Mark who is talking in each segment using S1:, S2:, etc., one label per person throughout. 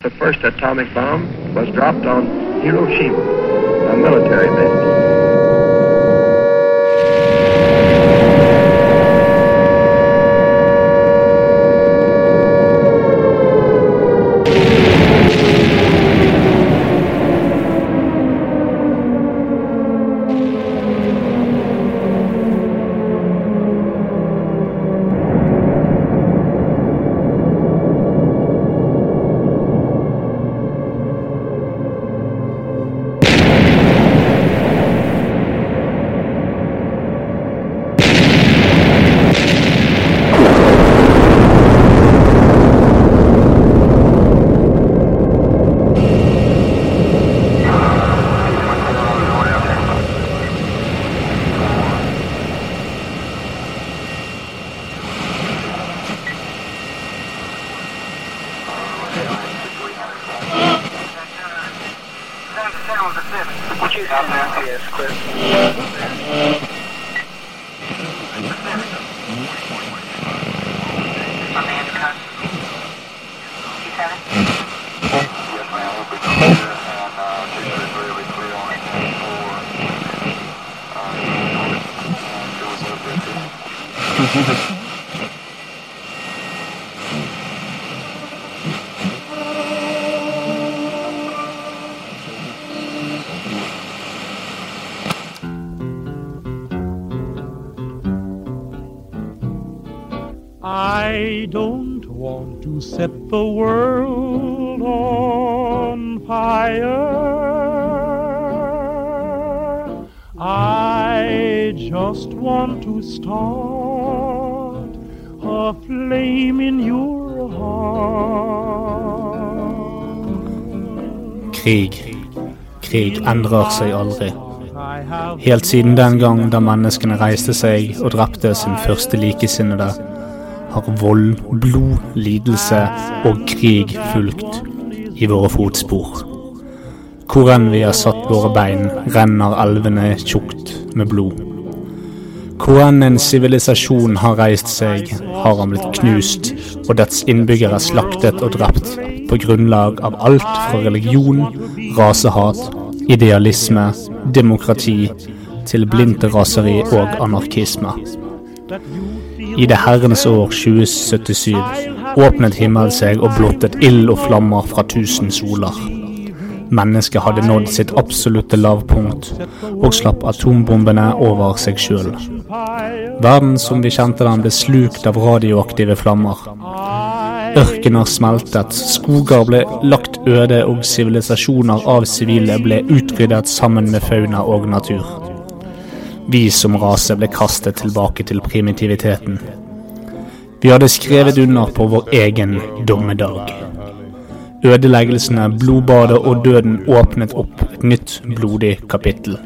S1: The first atomic bomb was dropped on Hiroshima, a military base.
S2: Would you help me with this, Chris?
S3: Yes, ma'am, we'll be clear, and, uh, two thirty-three will be clear on it, and four, uh, and do us up there too.
S4: I don't want to set the world on fire. I just want to start a flame in your heart.
S5: Krig. Krig endrer seg aldri.
S4: I have
S5: Helt siden den gang da menneskene reiste seg og drepte sin første likesinnede, har vold, blod, lidelse er og krig fulgt i våre fotspor. Hvor enn vi har satt våre bein, renner elvene tjukt med blod. Hvor enn en sivilisasjon har reist seg, har han blitt knust, og dets innbyggere slaktet og drept på grunnlag av alt fra religion, rasehat, idealisme, demokrati til blindt raseri og anarkisme.
S4: that you feel
S5: I det herrenes år 2077 åpnet himmelen seg og blottet ild og flammer fra tusen soler. Mennesket hadde nådd sitt absolutte lavpunkt og slapp atombombene over seg sjøl.
S4: fire.
S5: Verden som vi kjente den ble slukt av radioaktive flammer.
S4: I
S5: Ørkener smeltet, skoger ble lagt øde og sivilisasjoner av sivile ble utryddet sammen med fauna og natur. Vi som rase ble kastet tilbake til primitiviteten. Vi hadde skrevet under på vår egen dommedag. Ødeleggelsene, blodbadet og døden åpnet opp et nytt blodig kapittel.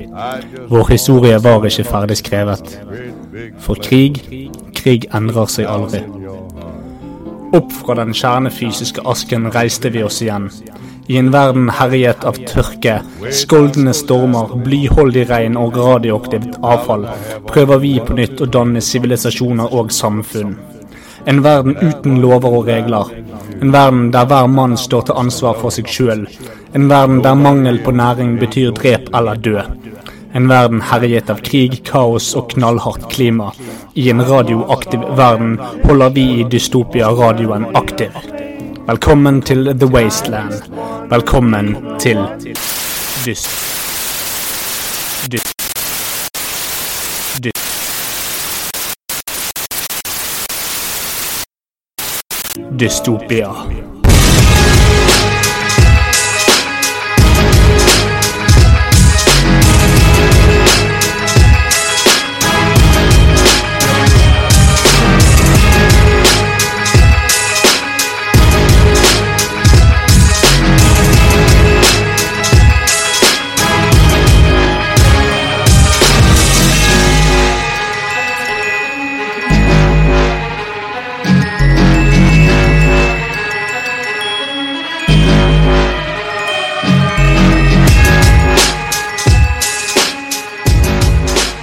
S5: Vår historie var ikke ferdig skrevet. For krig, krig endrer seg aldri. Opp fra den kjernefysiske asken reiste vi oss igjen. I en verden herjet av tørke, skoldende stormer, blyholdig regn og radioaktivt avfall prøver vi på nytt å danne sivilisasjoner og samfunn. En verden uten lover og regler. En verden der hver mann står til ansvar for seg sjøl. En verden der mangel på næring betyr drep eller dø. En verden herjet av krig, kaos og knallhardt klima. I en radioaktiv verden holder vi i Dystopia-radioen aktiv. Velkommen til The Wasteland. Velkommen til Dyst... Dyst... Dyst... Dystopia.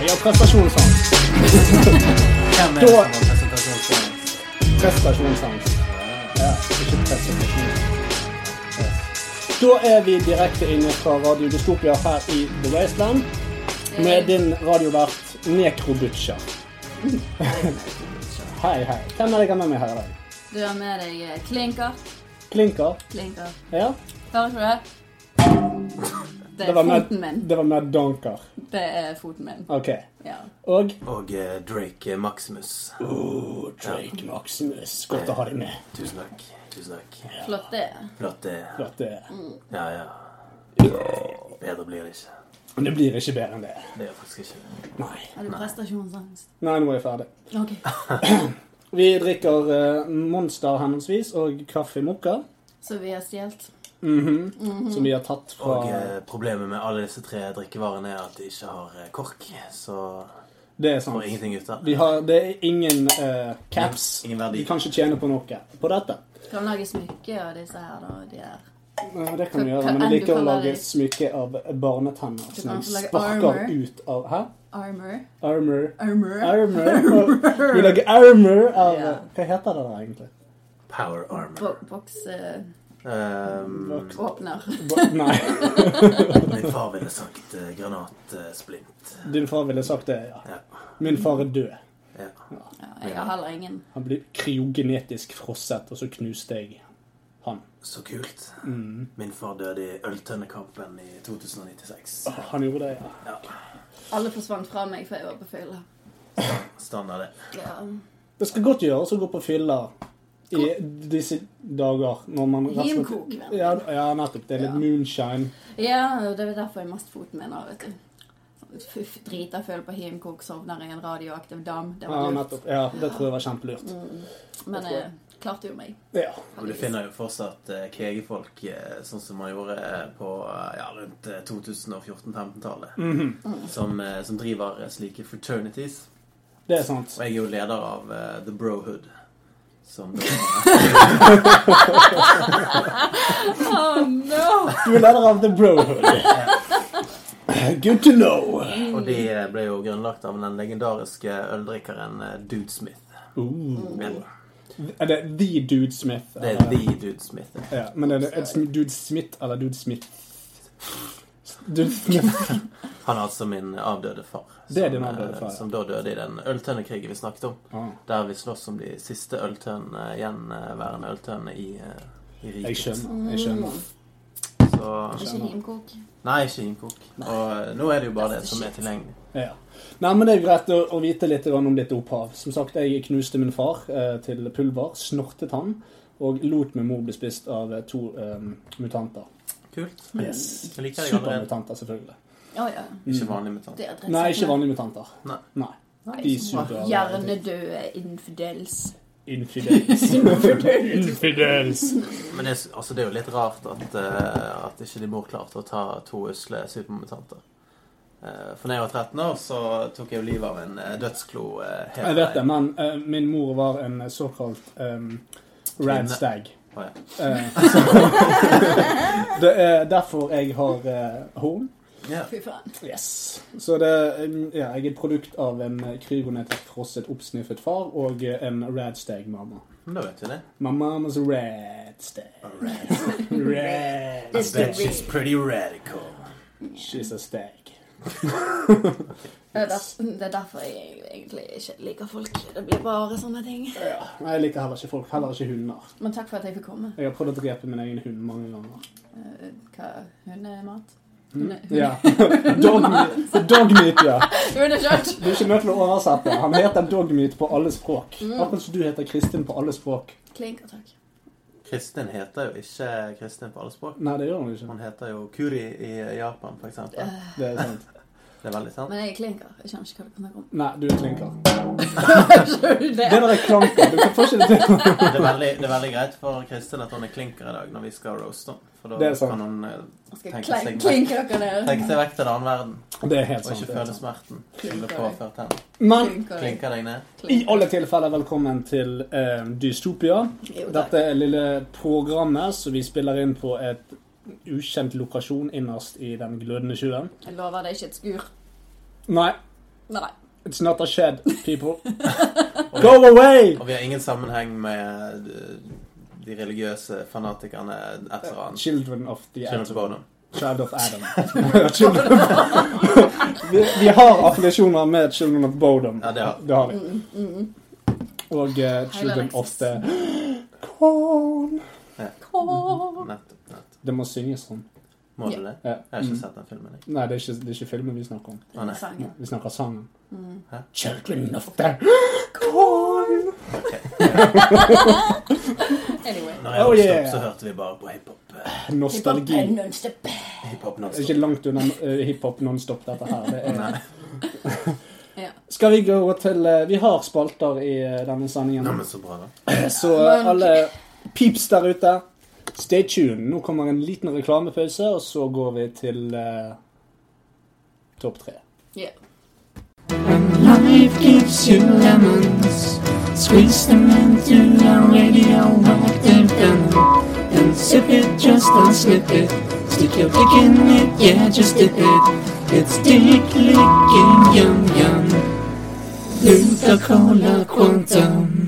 S6: Jeg har prestasjonssans. Da Prestasjonssans. Ja, ikke prestasjonssans. Eh,
S5: Da er vi direkte inne fra Radio Dystopia her i The Wasteland med din radiovert Nekrobutcher. Hei, hei. Hvem er det jeg har med meg her i dag?
S7: Du har med deg eh, klinker.
S5: Klinker?
S7: Klinker.
S5: Ja?
S7: Hører ikke du det? Det
S5: Det
S7: er
S5: var med,
S7: foten min.
S5: det var med Donker.
S7: Det er foten min.
S5: OK.
S7: Ja.
S5: Og
S8: Og eh, Drake eh, Maximus.
S5: oh, Drake Maximus. Godt å ha deg med.
S8: Tusen takk. Tusen takk.
S7: Flott det.
S8: Flott det.
S5: Flott det.
S8: Ja, ja. Bedre blir det ikke.
S5: Men det blir ikke bedre enn det.
S8: Det gjør faktisk ikke
S5: Nei.
S7: Har du prestasjonsangst?
S5: Nei, nå er jeg ferdig.
S7: Ok.
S5: Vi drikker eh, Monster henholdsvis og kaffe mokka,
S7: Så vi har stjålet.
S5: som vi har tatt fra
S8: Mm. Og eh, problemet med alle disse tre drikkevarene er at de ikke har eh, kork. Så
S5: Det er
S8: får
S5: sant.
S8: ingenting ut av
S5: Vi har, det er ingen eh, caps.
S8: Ingen- ingen verdi.
S5: Vi kan ikke tjene på noe på dette.
S7: Kan lage smykke av disse her, da. og De her.
S5: Nei, det kan vi
S7: Hva-
S5: gjøre,
S7: hva
S5: men jeg
S7: enn du
S5: liker å
S7: kaller
S5: lage
S7: det.
S5: smykke av barnetenner
S7: Du
S5: som
S7: kan
S5: jeg
S7: lage
S5: sparker
S7: armor.
S5: ut av Hæ?
S7: Armor.
S5: Armor.
S7: Armor.
S5: Armor. Vi lager armor av
S7: Ja.
S5: Hva heter det der egentlig?
S8: power armor.
S7: Bo eh, Bokseåpner.
S8: Um,
S5: Bo- Nei.
S8: min far ville sagt eh, granatsplint.
S5: Din far ville sagt det, ja.
S8: Ja.
S5: Min far er død.
S8: ja.
S7: Ja, jeg har heller ingen.
S5: Han ble kryogenetisk frosset, og så knuste jeg han.
S8: Så kult.
S5: Mm.
S8: Min far døde i øltønnekampen i 2096.
S5: Han gjorde det, ja.
S8: Ja,
S7: Alle forsvant fra meg før jeg var på fylla.
S8: Standard, det.
S7: Ja.
S5: Det skal godt gjøres å gå på fylla i disse dager når man rett og slett-
S7: Hjemkok, venn.
S5: Ja, ja, nettopp. Det er litt
S7: Ja.
S5: moonshine.
S7: ja, og det er derfor jeg mest foten min har, vet du. Sånn, f- Drita føl på himkok, sovner i en radioaktiv dam. Det
S5: Ja,
S7: var lurt. Mm.
S5: nettopp. Ja, det tror jeg var kjempelurt.
S7: Men
S5: eh,
S7: jeg klarte jo meg.
S5: Ja.
S8: Og du finner jo fortsatt eh, kegefolk eh, sånn som man gjorde eh, på eh, ja, rundt 2014-15-tallet.
S5: Mhm.
S8: som, eh, som driver eh, slike fraternities.
S5: Det er sant.
S8: Og jeg er jo leder av eh, The Brohood. Som da
S7: Oh no!
S5: Du er leder av The Brohood. Good to know.
S8: Og de eh, ble jo grunnlagt av den legendariske øldrikkeren eh, Dude Smith.
S7: Mm.
S8: Men
S5: Er det The Dude Smith?
S8: det er
S5: eller?
S8: The Dude Smith. eh.
S5: Ja, men er det er det Sm- Dude Smith eller Dude Smith? Dude Smith.
S8: Han er altså min avdøde far.
S5: Det er din
S8: som, eh,
S5: avdøde far, ja. Ah.
S8: Som da døde i den øltønnekrigen vi snakket om. Der vi slåss om de siste eh, øltønnene, gjenværende øltønnene i, eh, i riket.
S5: Jeg skjønner. jeg skjønner.
S8: Så,
S7: Ikke himkok.
S8: nei, ikke innkok. Og eh, nå er det jo bare det som er tilgjengelig.
S5: Ja. Nei, men Det er greit å, å vite litt grann om ditt opphav. Som sagt, Jeg knuste min far eh, til pulver, snortet han, og lot min mor bli spist av eh, to eh, mutanter.
S8: Kult.
S5: Yes.
S8: Jeg liker deg allerede.
S5: Supermutanter, selvfølgelig.
S7: Å ja.
S8: Ikke vanlig mutant.
S7: Det er
S5: Nei, ikke vanlige mutanter.
S8: Nei.
S5: Nei. De suger
S7: Hjernedøde infidels.
S5: infidels. infidels.
S8: Men det, er s- altså, det er jo litt rart at, eh, at ikke de mor klarte å ta to usle supermutanter. Eh, For da jeg var 13 år, så tok jeg jo livet av en eh, dødsklo. eh, helt
S5: Jeg vet det,
S8: alene.
S5: men eh, min mor var en såkalt um, radstag.
S8: Å, ja.
S5: Eh, så, det er derfor jeg har eh, horn.
S8: Ja.
S7: Fy faen.
S5: Yes. Så det, mm, ja, jeg er et produkt av en eh, krygonetisk frosset, oppsniffet far og eh, en radstag-mamma.
S8: Men da vet vi det.
S5: My mom is a radstag. Rad.
S7: It's the real.
S8: pretty radical.
S5: She's a stag.
S7: Det er derf- det er derfor jeg egentlig ikke liker folk. Det blir bare sånne ting.
S5: Ja. Nei, Jeg liker heller ikke folk, heller ikke hunder.
S7: Men takk for at jeg fikk komme.
S5: Jeg har prøvd å drepe min egen hund mange ganger.
S7: Eh, Hva? Hundemat? Hunde-
S5: Mm. Ja. Dogmeat, dogmeat, ja.
S7: Hundekjøtt!
S5: Du er ikke nødt til å oversette. Han heter dogmeat på alle språk. Akkurat som du heter Kristin på alle språk.
S7: Klinker, takk.
S8: Kristin heter jo ikke Kristin på alle språk.
S5: Nei, det gjør han ikke.
S8: Hun heter jo Kuri i Japan, for eksempel.
S5: Det er sant.
S8: Det er veldig sant.
S7: Eh, Men jeg er klinker. Jeg skjønner ikke hva du snakker om.
S5: Nei, du er klinker.
S7: Skjønner du
S5: Det
S7: det?
S5: der er klanker. Du kan få ikke det til.
S8: Det er veldig, det er veldig greit for Kristin at hun er klinker i dag når vi skal roaste henne. For
S5: Det
S8: da
S5: er sant.
S8: kan hun eh,
S7: Jeg skal
S8: tenke
S7: kle-
S8: seg vekk,
S7: klinke dere ned.
S8: tenke seg vekk til en annen verden.
S5: Det er helt
S8: Og
S5: sant.
S8: ikke
S5: det er
S8: føle
S5: sant.
S8: smarten som blir
S7: Klinker.
S8: påført henne.
S5: Men
S7: Klinker.
S8: Klinker deg ned.
S5: i alle tilfeller, velkommen til eh, Dystopia.
S7: Jo, takk.
S5: Dette er lille programmet som vi spiller inn på et ukjent lokasjon innerst i den glødende sjøen.
S7: Jeg lover det er ikke et skur.
S5: Nei,
S7: Nei, nei.
S5: it's not a shed, people. Go away!
S8: Og vi har ingen sammenheng med eh, de religiøse fanatikerne etter han.
S5: Children of the
S8: Children of
S5: Adam.
S8: Bodom.
S5: Child of Adam. Children of- vi, vi har affiliasjoner med Children of Bodom.
S8: Ja, det har-
S5: det har vi. Og eh, Children
S7: Highland
S5: of the Corn.
S8: Nettopp. nettopp.
S5: Det må synges sånn.
S8: Må du det?
S5: Ja.
S8: Jeg har ikke sett den filmen. jeg.
S5: Nei, det er, ikke, det er ikke filmen vi snakker om.
S8: Å, nei.
S7: sangen.
S5: Vi snakker sangen.
S8: Hæ?
S5: Children of the Corn.
S7: Anyway.
S8: Når jeg
S5: Oh,
S8: vokste
S5: yeah.
S8: opp, så hørte vi bare på hiphop. eh,
S7: Hiphop
S5: Nostalgi.
S7: and non-stop.
S8: Hiphop
S5: Det er ikke langt unna eh, hiphop nonstop, dette her. Det er...
S7: Ja.
S5: Skal vi gå til eh, Vi har spalter i eh, denne
S8: Ja,
S5: sendingen.
S8: men så bra, da.
S5: Så eh, alle peeps der ute, stay tuned. Nå kommer en liten reklamepause, og så går vi til eh, topp tre.
S7: Yeah.
S9: Life gives you lemons. Squeeze them into a radioactive pen. Then sip it, just unslip it. Stick your dick in it, yeah, just dip it. It's dick licking, yum yum. Luta cola quantum.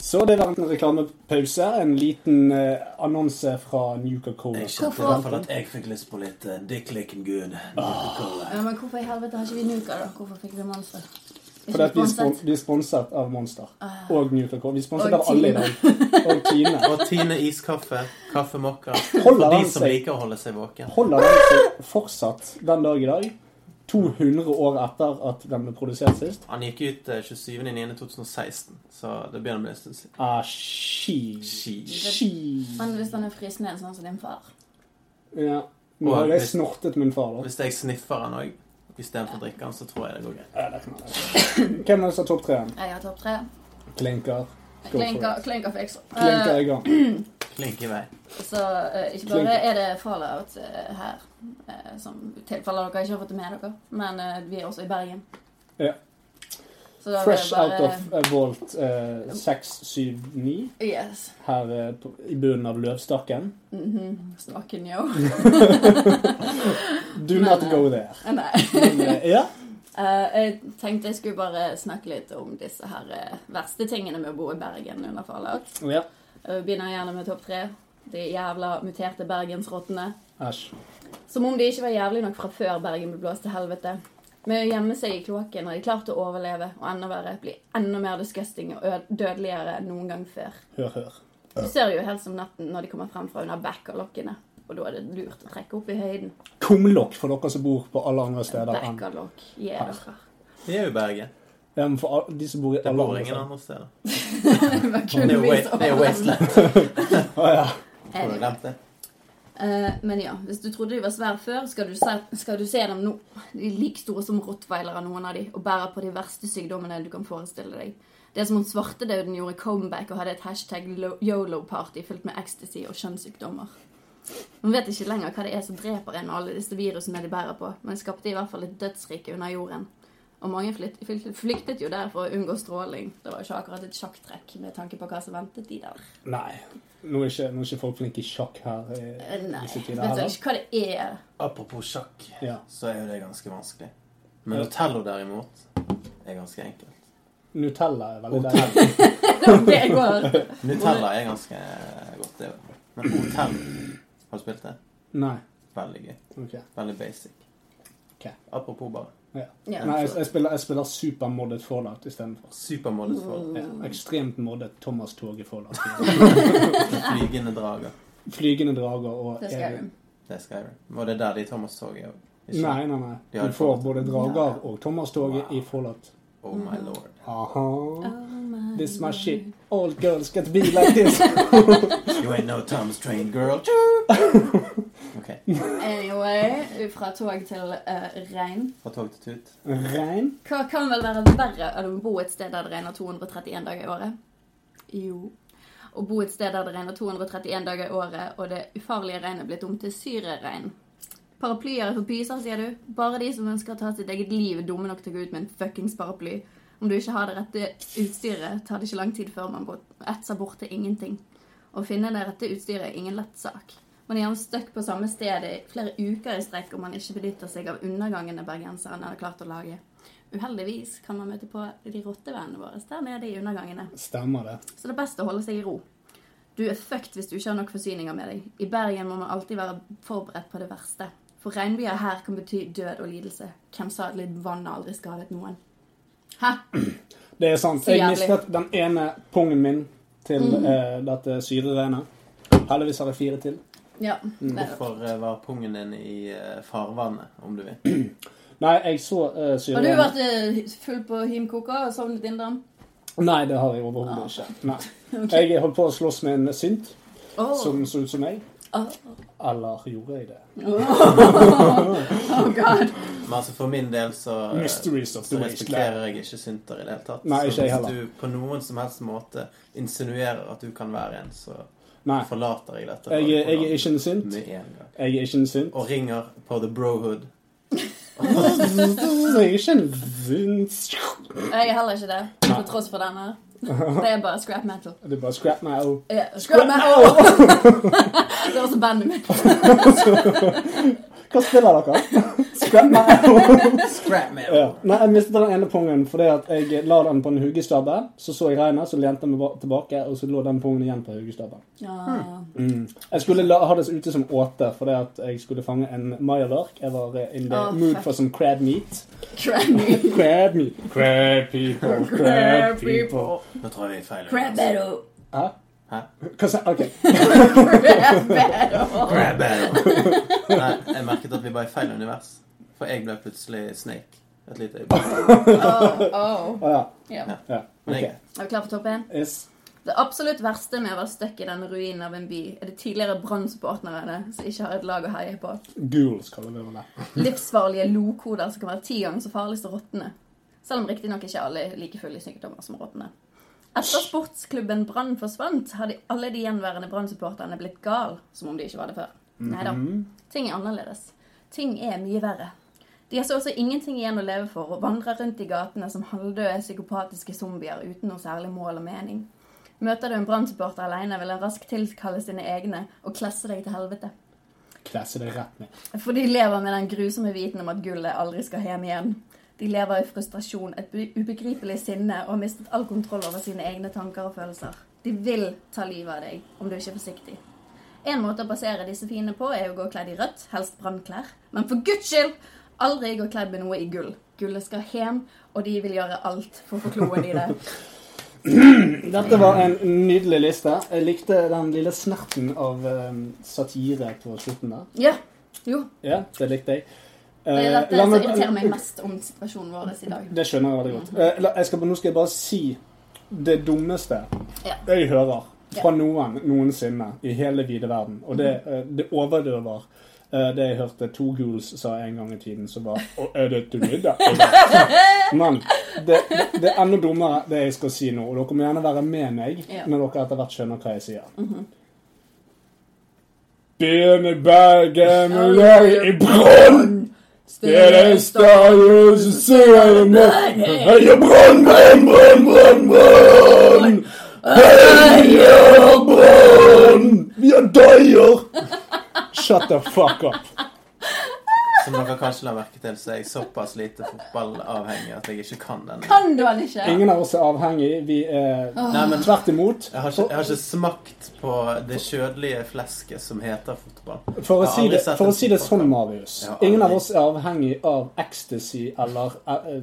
S5: Så det var en reklamepause. En liten eh, annonse fra Nuca-Cola.
S8: Jeg kjente i hvert fall at jeg fikk lyst på litt eh, Dick Licken Good.
S7: Ja, men hvorfor i helvete har ikke vi Nuka, da? Hvorfor fikk vi Monster? Er
S5: Fordi
S7: ikke
S5: at vi
S7: vi
S5: er, spon
S7: sponset? Ah.
S5: vi er sponset av Monster og Nuca-Cola. Vi er sponset
S7: Og
S5: av alle i
S7: Tine.
S5: dag. Og Tine.
S8: Og Tine iskaffe. Kaffemokka.
S5: Holder
S8: For de
S5: han
S8: som
S5: seg?
S8: liker å holde seg våken.
S5: Holder den seg fortsatt den dag i dag? 200 år etter at den ble produsert sist?
S8: Han gikk ut eh, 27.09.2016, så det begynner å bli en stund siden.
S5: Ah, she.
S8: Shit.
S5: She.
S7: Men hvis han er fristende, sånn som din far
S5: Ja. Nå har jeg snortet min far, da.
S8: Hvis jeg sniffer han òg istedenfor å drikke han, så tror jeg det går greit.
S5: Ja, det kan jeg ikke. Hvem er det som har topp tre?
S7: Jeg har topp tre.
S5: Klinker. Go for
S7: Klinker,
S5: it.
S7: klinker fikser. Eh,
S5: Klinker i gang.
S8: Klink i vei.
S7: Så eh, ikke bare er det Fallout eh, her, eh, som i tilfelle dere ikke har fått det med dere, men eh, vi er også i Bergen.
S5: Ja.
S7: Så da er det
S5: Fresh
S7: bare-
S5: out of eh, Volt eh, 679
S7: Yes.
S5: her eh, på, i bunnen av Løvstakken.
S7: Mhm. Snakken, yo.
S5: Do
S7: Men,
S5: not
S7: eh,
S5: go there.
S7: Nei.
S5: Men, eh, ja.
S7: Eh, jeg tenkte jeg skulle bare snakke litt om disse her eh, verste tingene med å bo i Bergen under Fallout.
S5: ja.
S7: Jeg begynner Eh, gjerne med topp tre. De jævla muterte bergensrottene.
S5: Æsj.
S7: Som om de ikke var jævlig nok fra før Bergen ble blåst til helvete. Med å gjemme seg i kloakken har de klart å overleve, og enda verre, bli enda mer disgusting og ø- dødeligere enn noen gang før.
S5: Hør, hør.
S7: Du ser jo helt som natten når de kommer frem fra under backerlokkene, og da er det lurt å trekke opp i høyden.
S5: Kumlokk for dere som bor på alle andre steder enn
S7: Backerlokk, gi dere.
S8: Vi er jo i Bergen.
S5: Ja, men for al- de som bor i
S8: Det
S5: alle
S8: bor
S5: andre
S8: ingen
S5: steder.
S8: andre steder.
S7: Det var kun
S8: Det er jo
S7: vi
S8: wa-
S7: som-
S8: det er jo wasteland.
S5: Å ja.
S8: Har du glemt det?
S7: Eh, men ja, hvis du trodde de var svære før, skal du se, skal du se dem nå. De er like store som rottweilere, noen av de, og bærer på de verste sykdommene du kan forestille deg. Det er som om svartedauden gjorde comeback og hadde et hashtag lo- YOLO-party fylt med ecstasy og kjønnssykdommer. Man vet ikke lenger hva det er som dreper en med alle disse virusene de bærer på, men det skapte i hvert fall et dødsrike under jorden. Og mange flytt, flykt- flyktet jo der for å unngå stråling. Det var jo ikke akkurat et sjakktrekk med tanke på hva som ventet de der.
S5: Nei. Nå er, ikke, nå er ikke folk flinke i sjakk her.
S7: Eh,
S5: eh,
S7: Nei,
S5: disse
S7: vet
S5: tider
S7: jeg
S5: heller.
S7: ikke hva det er.
S8: Apropos sjakk,
S5: Ja.
S8: så er jo det ganske vanskelig. Men Otello derimot er ganske enkelt.
S5: Nutella er veldig
S8: Hotel.
S5: deilig.
S7: Det går.
S8: Nutella er ganske godt, det òg. Men Otello Har du spilt det?
S5: Nei.
S8: Veldig gøy.
S5: ok.
S8: Veldig basic.
S5: Ok.
S8: Apropos bare
S5: Ja.
S7: Ja.
S5: Nei, jeg, jeg spiller, jeg spiller supermoddet Fallout istedenfor.
S8: supermålet for
S5: Ja, ekstremt moddet Thomas Torge Fallout.
S8: flygende drager.
S5: Flygende drager og
S7: Det skal jeg.
S8: Det er Skyrim. Og det er der de Thomas Torget er. Ikke-
S5: Nei, nei, nei.
S8: Ja,
S5: Du får
S8: Fallout.
S5: både drager og Thomas Torge
S8: Wow.
S5: i Fallout.
S8: Oh my lord.
S5: Aha.
S7: Oh my
S5: This my shit. All girls get be like this.
S8: You ain't no Thomas Train girl. OK.
S7: Anyway, fra tog til eh, regn.
S8: Fra tog til tut.
S5: Regn.
S7: Hva kan vel være verre enn å bo et sted der det regner 231 dager i året? Jo. Å bo et sted der det regner 231 dager i året, og det ufarlige regnet blitt om til syreregn. Paraplyer er for pyser, sier du. Bare de som ønsker å ta sitt eget liv, er dumme nok til å gå ut med en fuckings paraply. Om du ikke har det rette utstyret, tar det ikke lang tid før man bort- etser bort til ingenting. Å finne det rette utstyret er ingen lett sak. Man er gjerne stuck på samme sted i flere uker i strekk om man ikke benytter seg av undergangene bergenseren har klart å lage. uheldigvis kan man møte på de rottevennene våre der nede i undergangene.
S5: Stemmer det.
S7: Så det er best å holde seg i ro. Du er fucked hvis du ikke har nok forsyninger med deg. I Bergen må man alltid være forberedt på det verste. For regnbyger her kan bety død og lidelse. Hvem sa at litt vann aldri skadet noen? Hæ?
S5: Det er sant.
S7: Så
S5: Jeg
S7: jævlig. Mm.
S5: mistet den ene pungen min til eh, dette syreregnet. Heldigvis har jeg fire til.
S7: Ja. det er det.
S8: Hvorfor eh, var pungen din i eh, farvannet, om du vil?
S5: Nei, jeg så uh,
S7: Har du
S5: syreregnet.
S7: vært eh, full på himkoka og sovnet innendørs?
S5: Nei, det har jeg
S7: Ah.
S5: overhodet ikke. Nei. Jeg holdt på å slåss med en synt
S7: Åh. Ah.
S5: som så ut som meg.
S7: Åh.
S5: Eller gjorde jeg det?
S7: Oh god.
S8: Men altså for min del så, eh,
S5: Mysteries of the
S8: så
S5: Wasteland.
S8: respekterer jeg ikke synter i det hele tatt.
S5: Nei, ikke
S8: så
S5: jeg
S8: hvis
S5: heller.
S8: du på noen som helst måte insinuerer at du kan være en, så
S5: Nei.
S8: forlater jeg dette.
S5: Jeg, jeg er
S8: programmet
S5: ikke en synt.
S8: Med en gang.
S5: Jeg er ikke en synt.
S8: Og ringer på The Brohood.
S5: Jeg er ikke en synt.
S7: Jeg er heller ikke det, på tross for den her. Det er bare scrap metal.
S5: Det er bare scrap metal.
S7: Ja, scrap metal! det er også bandet mitt.
S5: Hva spiller dere? Scrap metal.
S8: Scrap mail!
S5: Ja. Nei, jeg mistet den ene pungen fordi at jeg la den på en huggestabbe. Så så jeg regnet, så lente jeg meg ba- tilbake, og så lå den pungen igjen på huggestabben.
S7: Ja.
S5: Jeg skulle la, ha det ute som åte fordi at jeg skulle fange en mayalark. Jeg var eh, in the
S7: Å,
S5: mood
S7: fuck.
S5: for some crab meat.
S7: Crab
S5: Crab meat. Crab people, crab people.
S8: Nå tror jeg vi feiler.
S7: Crab metal.
S5: Hæ?
S8: Hæ?
S5: Hva sa Ok.
S7: Crab metal.
S8: Crab battle. Nei, jeg merket at vi var i feil univers. For jeg ble plutselig Snake. Et lite øyeblikk.
S7: Oh.
S5: Å ja.
S7: Ja.
S5: ja.
S8: Men
S5: Ok.
S8: jeg,
S7: Er vi klar for topp én?
S5: Yes.
S7: Det absolutt verste med å være stuck i denne ruinen av en by, er de tidligere Brann-supporterne som ikke har et lag å heie på.
S5: Ghouls kaller vi det.
S7: Livsfarlige lokoder som kan være ti ganger så farlige som rottene. Selv om riktignok ikke alle er like fulle i sykdommer som rottene. Etter sportsklubben Brann forsvant, har de alle de gjenværende Brann-supporterne blitt gal, som om de ikke var det før. Nei da. Ting er annerledes. Ting er mye verre. De har så også ingenting igjen å leve for, og vandrer rundt i gatene som halvdøde psykopatiske zombier uten noe særlig mål og mening. Møter du en Brann-supporter alene, vil han raskt tilkalle sine egne og klesse deg til helvete.
S5: Klasse det rett med.
S7: For de lever med den grusomme viten om at gullet aldri skal hjem igjen. De lever i frustrasjon, et be- ubegripelig sinne og har mistet all kontroll over sine egne tanker og følelser. De vil ta livet av deg om du ikke er forsiktig. En måte å basere disse fiendene på er å gå kledd i rødt, helst brannklær. Men for guds skyld, aldri gå kledd med noe i gull. Gullet skal hjem, og de vil gjøre alt for å få kloen i det.
S5: Dette var en nydelig liste. Jeg likte den lille snerten av eh, satire på slutten der.
S7: Ja, jo.
S5: Ja, det likte jeg. Eh,
S7: Det er dette
S5: la
S7: som
S5: meg-
S7: irriterer meg mest Mm. om situasjonen vår i dag.
S5: Det skjønner jeg veldig godt. Eh, la- jeg skal, bare- nå skal jeg bare si det dummeste
S7: Ja.
S5: jeg hører fra
S7: Ja. Mm.
S5: noen noensinne i hele vide verden. Og det, eh, det overdøver eh, det jeg hørte To Ghouls sa en gang i tiden, som var Å, er det til middag? Men det, det er enda dummere, det jeg skal si nå. Og dere må gjerne være med meg
S7: Ja. Mhm.
S5: når dere etter hvert skjønner hva jeg sier. Byen i Bergen, og jeg i brann! Dere stadig så ser jeg meg Heia brann, brann, brann, brann, brann Heia brann Jeg døyer Shut the fuck up
S8: som dere kanskje la merke til, så er jeg såpass lite fotballavhengig at jeg ikke kan den.
S7: Kan du han ikke?
S5: Ingen av oss er avhengig Vi er
S8: Nei, men jeg
S5: tvert imot
S8: har, ikke, jeg har ikke smakt på det kjødelige flesket som heter fotball.
S5: For å
S8: Jeg har
S5: si
S8: aldri
S5: det,
S8: sett
S5: for
S8: en
S5: å si det
S8: fotballkamp.
S5: sånn, Marius
S8: Ja, aldri.
S5: Ingen av oss er avhengig av ecstasy Eller eh, eh,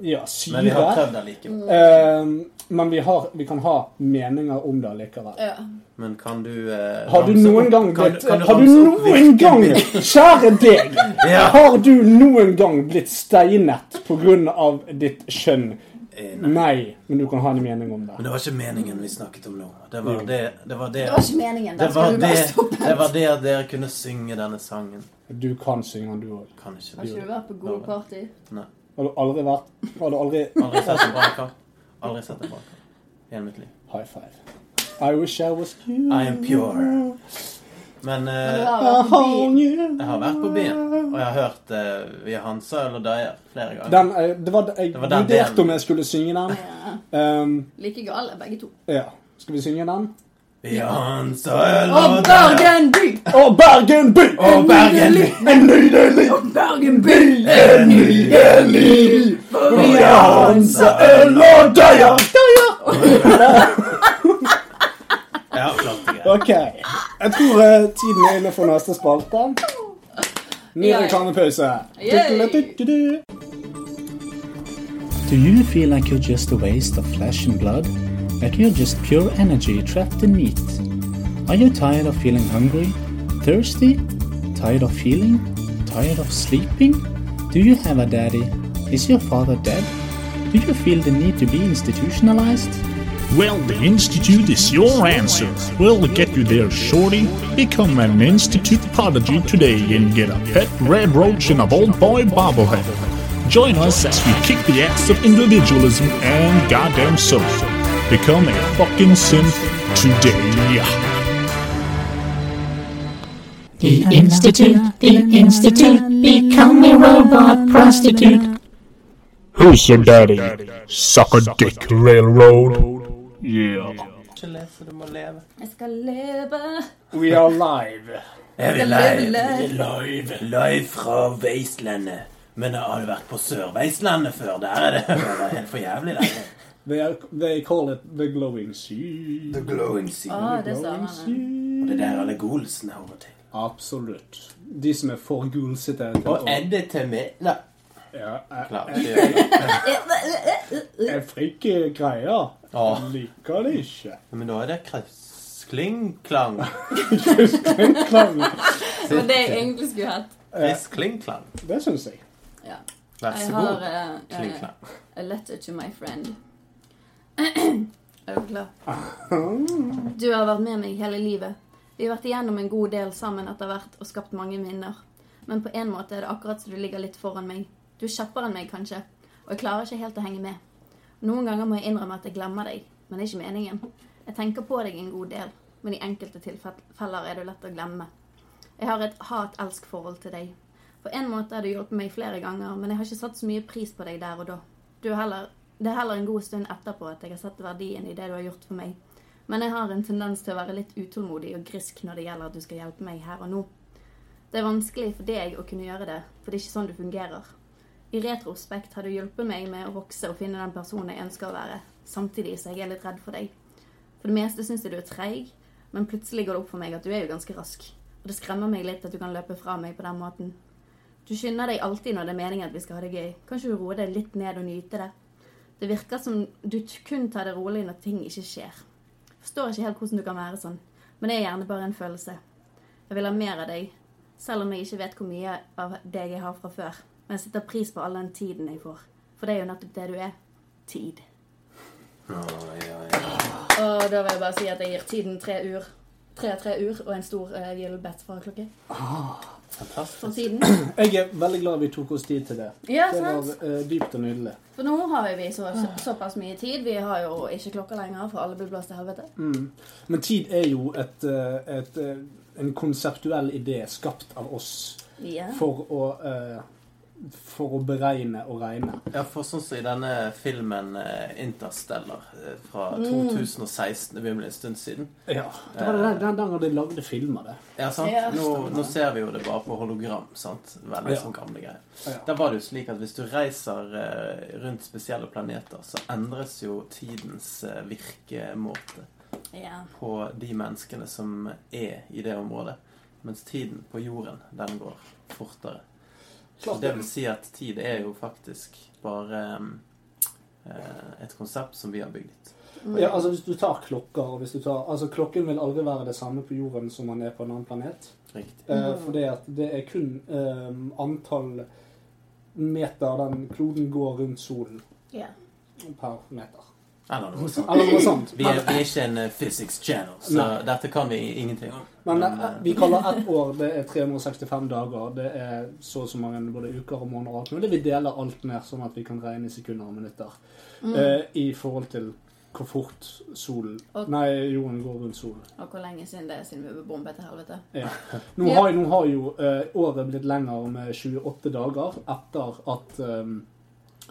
S5: ja,
S8: Men vi har
S5: syre
S8: prøvd allikevel.
S5: Eh, Men vi, har, vi kan ha meninger om det likevel
S7: Ja.
S8: Men kan du eh,
S5: Har du
S8: ramse
S5: noen
S8: opp-
S5: gang
S8: kan
S5: blitt
S8: du- kan du
S5: Har du
S8: ramse opp
S5: noen
S8: hvilken
S5: gang,
S8: by-
S5: kjære deg,
S8: Ja.
S5: har du noen gang blitt steinet pga. ditt kjønn?
S8: Eh, nei.
S5: Nei, men du kan ha en mening om
S8: Men
S5: det.
S8: det var ikke meningen vi snakket om nå. Det var det Det var det,
S7: Det var ikke meningen.
S8: det,
S7: Den
S8: var
S7: skal du
S8: det,
S7: bare stoppe.
S8: det, var det at dere kunne synge denne sangen.
S5: Du kan synge den, du òg.
S8: Kan ikke
S7: Har ikke du vært på gode party?
S5: Har du aldri vært Har du aldri
S8: Aldri sett en bra kamp. Aldri sett en bra kamp. I hele mitt liv.
S5: High five. I wish I was you.
S8: I am pure. Men
S7: Men du
S8: eh,
S7: har
S5: I
S7: vært på
S5: hung
S7: byen.
S5: you.
S8: jeg har vært på byen, og jeg har hørt eh, via Hansa eller Dyer flere ganger.
S5: Den, eh, det var, jeg
S8: Det var den
S5: vurderte
S8: delen.
S5: om jeg skulle synge den.
S7: Ja.
S5: Um,
S7: Like gale, begge to.
S5: ja. Skal vi synge den?
S8: I Hanstøl
S7: Og Bergen by!
S5: Og Bergen by!
S8: Og Bergen by!
S5: En nydelig
S7: Bergen by!
S5: En nydelig For vi har Hansa øl og døyer
S8: Ja, klart jeg.
S5: Ok, jeg tror eh, tiden er inne for neste spalte Ny
S7: Ja.
S5: reklamepause
S7: Yay.
S5: Du-du-du-du-du.
S9: Do you feel like you're just a waste of flesh and blood? Like you're just pure energy trapped in meat? Are you tired of feeling hungry? Thirsty? Tired of feeling? Tired of sleeping? Do you have a daddy? Is your father dead? Do you feel the need to be institutionalized?
S10: Well, the Institute is your answer. We'll get you there, shorty. Become an Institute prodigy today and get a pet red roach and a old boy bobblehead. Join us as we kick the ass of individualism and goddamn social. Become a fucking synth today.
S11: The Institute, the Institute, become a robot prostitute.
S10: Who's your daddy? Suck a dick, railroad. Yeah.
S8: Ikke lese, du må leve.
S7: Jeg skal leve
S5: We are live
S8: Er vi
S7: live?
S8: Live, live fra Vestlandet. Men har du vært på Sør-Vestlandet før? Der er det det er helt for jævlig. Der.
S5: They, are, they call it the glowing sea
S8: The glowing sea.
S7: Å, det sa han. ja.
S8: Og det er der alle golsene hører til.
S5: Absolutt De som er for gulsete
S8: Og er det til meg? Nei.
S5: Ja, jeg,
S8: Klart. det gjør jeg.
S5: jeg frikke greier
S8: Ja.
S5: Liker det ikke
S8: Men da er det kresklingklang.
S5: Klang.
S7: Det var det jeg egentlig skulle hatt.
S8: Kresklingklang.
S5: Det synes jeg
S7: Ja.
S8: Vær
S7: Jeg
S8: så
S7: har
S8: god.
S7: eh, eh,
S8: Klingklang.
S7: A letter to my friend. Er du klar? Du har vært med meg hele livet. Vi har vært igjennom en god del sammen etter hvert og skapt mange minner. Men på en måte er det akkurat som du ligger litt foran meg. Du er kjappere enn meg, kanskje, og jeg klarer ikke helt å henge med. Noen ganger må jeg innrømme at jeg glemmer deg, men det er ikke meningen. Jeg tenker på deg en god del, men i enkelte tilfeller er du lett å glemme. Jeg har et hat-elsk-forhold til deg. På en måte har du hjulpet meg flere ganger, men jeg har ikke satt så mye pris på deg der og da. Du er heller, det er heller en god stund etterpå at jeg har sett verdien i det du har gjort for meg. Men jeg har en tendens til å være litt utålmodig og grisk når det gjelder at du skal hjelpe meg her og nå. Det er vanskelig for deg å kunne gjøre det, for det er ikke sånn du fungerer. I retrospekt har du hjulpet meg med å vokse og finne den personen jeg ønsker å være, samtidig så jeg er litt redd for deg. For det meste syns jeg du er treig, men plutselig går det opp for meg at du er jo ganske rask. Og det skremmer meg litt at du kan løpe fra meg på den måten. Du skynder deg alltid når det er meningen at vi skal ha det gøy. Kanskje du roer deg litt ned og nyte det. Det virker som du t- kun tar det rolig når ting ikke skjer. Forstår ikke helt hvordan du kan være sånn, men det er gjerne bare en følelse. Jeg vil ha mer av deg, selv om jeg ikke vet hvor mye av deg jeg har fra før. Men jeg setter pris på all den tiden jeg får, for det er jo nettopp det du er. Tid.
S8: Oi, oi, oi.
S7: Og da vil jeg bare si at jeg gir tiden tre ur. Tre av tre ur og en stor uh, gildbett fra klokke.
S8: Fantastisk.
S7: For tiden.
S5: Jeg er veldig glad vi tok oss tid til det
S7: Ja,
S5: Det Ah. var
S7: sant?
S5: eh, dypt og nydelig
S7: For nå har jo vi så, så, såpass mye tid. Vi har jo ikke klokka lenger, for alle blir blåst til helvete.
S5: Mm. Men tid er jo et, eh, et, eh, en konseptuell idé skapt av oss
S7: Ja.
S5: for å, eh, for å beregne og regne.
S8: Ja, for sånn som i denne filmen eh, Interstellar eh, fra
S7: Mm.
S8: 2016, det begynner å bli en stund siden
S5: Ja, Det var den, den gangen de lagde filmer, det.
S8: Ja, sant?
S7: Ja.
S8: Nå, nå ser vi jo det bare på hologram, sant? Veldig
S5: Ja.
S8: sånn gamle greier.
S5: Ja.
S8: Der var det jo slik at hvis du reiser eh, rundt spesielle planeter, så endres jo tidens eh, virkemåte
S7: ja.
S8: på de menneskene som er i det området. Mens tiden på jorden, den går fortere. Så
S5: Klart
S8: det
S5: det.
S8: vil si at tid er jo faktisk bare um, eh, et konsept som vi har bygd ut.
S7: Mm.
S5: Ja, altså Hvis du tar klokker og hvis du tar, altså Klokken vil aldri være det samme på jorden som man er på en annen planet.
S8: Riktig.
S5: Eh, for det, at det er kun eh, antall meter den kloden går rundt solen
S7: ja.
S5: per meter.
S8: Eller noe sånt.
S5: Eller noe sånt.
S8: Vi er, vi er ikke en eh, physics channel, så
S5: Nei.
S8: dette kan vi ingenting om.
S5: Men
S8: Men,
S5: eh, vi kaller ett år det er 365 dager. Det er så og så mange både uker og måneder og alt mulig. Vi deler alt ned sånn at vi kan regne i sekunder og minutter eh, i forhold til hvor fort solen
S7: Og-
S5: Nei, jorden går rundt solen.
S7: Og hvor lenge siden det er siden vi ble bombet til helvete.
S5: Ja. Nå, har, nå har jo eh, året blitt lenger med 28 dager etter at eh, ehm,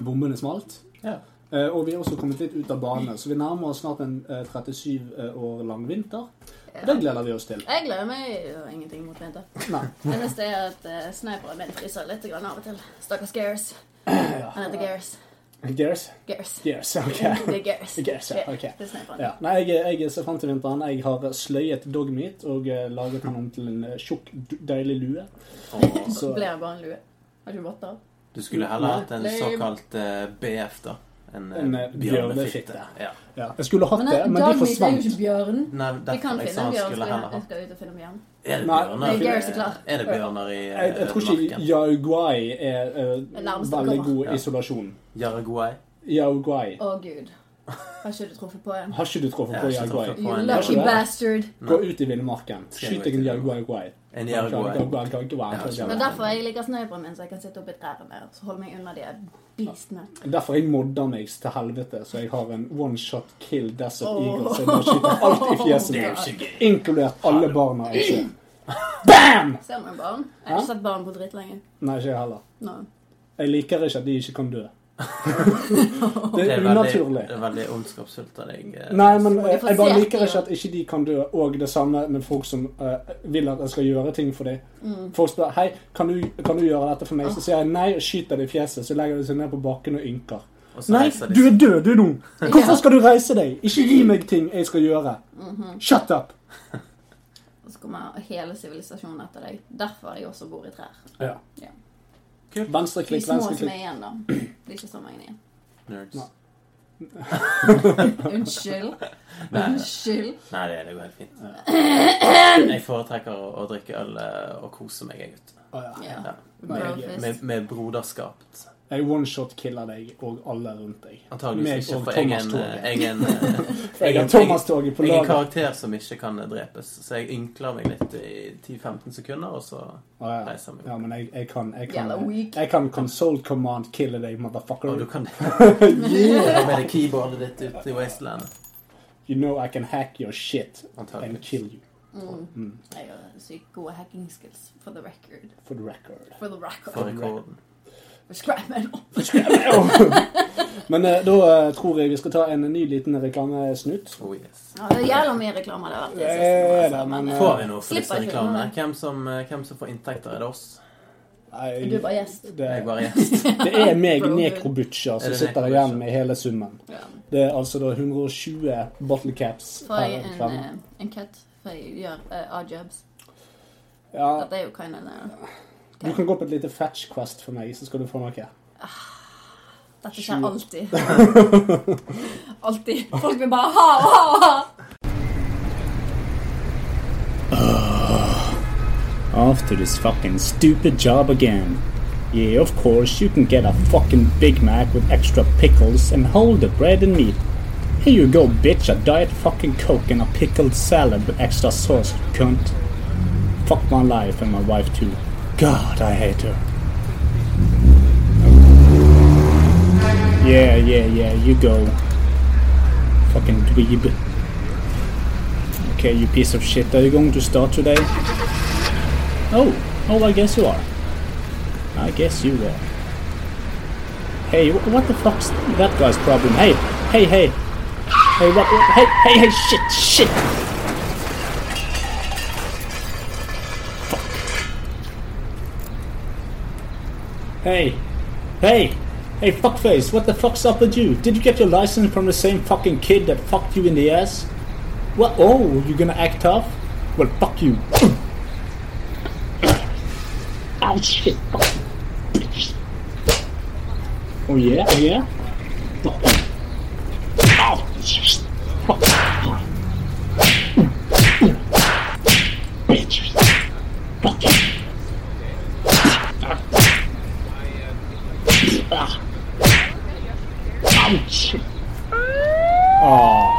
S5: bombene smalt.
S8: Ja.
S5: Eh, Og vi er også kommet litt ut av bane, så vi nærmer oss snart en eh, 37 år lang vinter. Og Det gleder vi oss til.
S7: Jeg gleder meg jo ingenting mot vinter.
S5: Nei.
S7: Eneste er at uh, sniperen min fryser litt grann av og til. Stakkars Gares. Han heter Gares.
S5: Gears?
S7: Gares.
S5: Gears, ok.
S7: Det er Gares.
S5: Gares, ja, ok.
S7: Det er sniperen.
S5: Ja. Nei, jeg, jeg ser frem til vinteren. Jeg har sløyet dogmeat og eh, laget han om til en eh, tjukk, d- deilig lue.
S7: Så
S5: Så
S7: blir han bare en lue. Har ikke votter.
S8: Du skulle heller hatt en
S7: Lame.
S8: såkalt eh, BF, da. En, eh,
S5: En, eh, bjørnefitte.
S8: Ja.
S5: ja. jeg skulle hatt
S7: Men
S5: det,
S7: eh,
S5: men det
S7: Dagny det er jo
S5: forsvant.
S7: ikke bjørn.
S8: Nei,
S7: Vi kan
S8: derfor
S7: finne
S8: jeg sa
S7: en
S8: han
S7: bjørn.
S8: sånn skulle heller
S7: skal- Jeg
S8: hatt
S7: skal ut og finne en bjørn.
S8: Er det
S5: Nei,
S8: bjørner?
S7: det er Gareth er klar.
S8: Er det bjørner i eh,
S5: Jeg, jeg tror ikke
S8: marken?
S5: Yaguay er eh,
S7: Nærmest
S5: veldig
S7: kommer.
S5: god
S8: Ja.
S5: isolasjon.
S8: Jaraguay?
S5: Yaguay.
S7: Å, gud. Har ikke du truffet på en?
S5: Har ikke du truffet på
S8: Jeg har ikke
S5: Yaguay?
S8: truffet på
S7: You
S8: en
S7: lucky
S5: Nei.
S7: bastard.
S5: Gå ut i villmarken.
S8: Skal jeg
S5: Skyt
S8: gå
S5: deg en
S8: ut i
S5: Yaguay.
S8: En eh, Jaraguay. Ja, sånn.
S7: Det er derfor jeg liker snøbroren min, så jeg kan sitte oppi trærne og så holde meg unna de beastene.
S5: Derfor jeg modder meg til helvete, så jeg har en one shot kill Desert
S7: Åh.
S5: Eagle. Så jeg bare skyter alt i fjeset
S8: Det er
S5: mitt.
S8: jo ikke gøy.
S5: Inkludert alle barna jeg ser. Bam!
S7: Ser du noen barn? Jeg har
S5: Hæ?
S7: ikke sett barn på dritlenge.
S5: Nei, ikke jeg heller.
S7: No.
S5: Jeg liker ikke at de ikke kan dø. Det
S8: Det
S5: er
S8: er veldig,
S5: unaturlig.
S8: det er veldig ondskapsfullt av deg. eh.
S5: Nei, men eh,
S7: de får
S5: jeg bare
S7: se
S5: liker
S7: etter,
S5: ikke at ikke de kan dø, og det samme med folk som eh, vil at jeg skal gjøre ting for dem.
S7: Mm.
S5: Folk spør 'Hei, kan du, kan du gjøre dette for
S7: Ah.
S5: meg?' Så sier jeg nei og skyter det i fjeset. Så legger de seg ned på bakken og ynker.
S8: Og så
S5: Nei,
S8: reiser de
S5: du
S8: seg.
S5: er død, du nå! Hvorfor skal du reise deg? Ikke gi meg ting jeg skal gjøre.
S7: Mhm.
S5: Shut up!
S7: Og så kommer hele sivilisasjonen etter deg. Derfor jeg også bor i trær.
S5: Ja.
S7: Ja.
S5: Venstre
S7: De
S5: klikk,
S7: små
S5: venstre
S7: som er
S5: klikk.
S7: igjen, da. Det er ikke så mange igjen.
S8: Nerds.
S5: Nei.
S7: Unnskyld.
S8: Nei, nei.
S7: Unnskyld.
S8: Nei, det det går helt fint. Jeg foretrekker å, å drikke øl eh, og kose meg, jeg, gutt.
S5: Å, ja.
S7: Ja.
S8: Ja.
S7: Brofist.
S8: Med, med broderskap.
S5: Jeg one-shot-killer deg og alle rundt deg.
S8: Antageligvis
S5: Meg
S8: ikke,
S5: og
S8: for jeg er
S5: Thomas
S8: en,
S5: Toget.
S8: eh, jeg
S5: Jeg
S8: er en, eh,
S5: har
S8: jeg-
S5: Thomas-toget på
S8: jeg er en
S5: laget.
S8: karakter som ikke kan eh, drepes, så jeg ynkler meg litt i 10-15 sekunder, og så
S5: Å, Ah, ja.
S8: reiser jeg meg.
S5: ja, men jeg, jeg kan Jeg kan,
S7: Jævla weak.
S5: jeg kan console command kille deg, motherfucker.
S8: Og du kan ta med deg keyboardet ditt ut i Wasteland.
S5: You know I can hack your shit and
S8: Antageligvis.
S5: kill you,
S7: Jeg har sykt gode hacking skills, for the record.
S5: for the record.
S7: For the
S8: For
S7: record.
S8: rekorden.
S7: Subscribe meg nå.
S5: Men eh, da eh, tror jeg vi skal ta en ny liten reklamesnutt.
S8: Oh, yes.
S7: Ja, det er jævla mye reklame det har vært i det
S5: Det
S7: siste.
S5: er det,
S7: altså,
S5: men,
S7: men,
S8: Får vi noe for
S7: Slipper
S8: disse
S7: ikke
S8: reklamene?
S7: unna.
S8: Hvem som, eh, hvem som får inntekter? Er det oss?
S5: Nei,
S7: eh, Du er bare gjest.
S5: det,
S8: Jeg bare gjest.
S5: det er meg,
S7: Bro,
S5: nekrobutcher,
S8: Er
S5: som
S8: det
S5: sitter
S8: nekrobutcher?
S5: igjen med hele summen.
S7: Ja.
S5: Det er altså da 120 bottle caps
S7: Får jeg
S5: per
S7: en,
S5: reklame.
S7: eh, en cut? For jeg gjør uh, odd jobs.
S5: Ja,
S7: Dette er jo kind of uh,
S5: du kan gå på et lite fetch quest for meg, så skal du få noe.
S7: Dette skjer alltid. Alltid. Folk vil bare ha og ha og ha.
S3: After this fucking stupid job again. Yeah, of course, you can get a fucking Big Mac with extra pickles and hold the bread and meat. Here you go, bitch, a diet fucking Coke and a pickled salad with extra sauce, cunt. Fuck my life and my wife too. God, I hate her. Yeah, yeah, yeah, you go. Fucking dweeb. Okay, you piece of shit, are you going to start today? Oh, oh, I guess you are. I guess you are. Hey, wh- what the fuck's that guy's problem? Hey, hey, hey. Hey, what? what- hey, hey, hey, shit, shit. Fuck. Hey, hey, hey, fuckface, what the fuck's up with you? Did you get your license from the same fucking kid that fucked you in the ass? What? Oh, you gonna act tough? Well, fuck you. Oh shit. Oh yeah, oh yeah. Oh, shit. Bitch. Fuck. Ah. Oh, shit. Oh,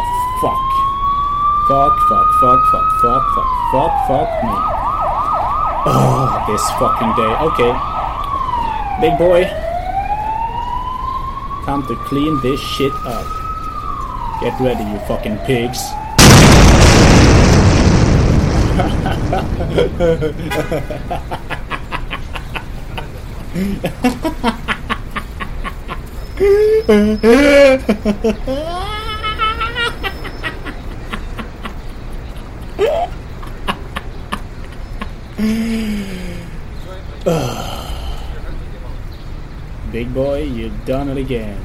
S3: fuck. Fuck, fuck, fuck, fuck, fuck, fuck, fuck, fuck me Oh, this fucking day. Okay. Big boy. Time to clean this shit up. Get ready, you fucking pigs. Big boy, you done it again.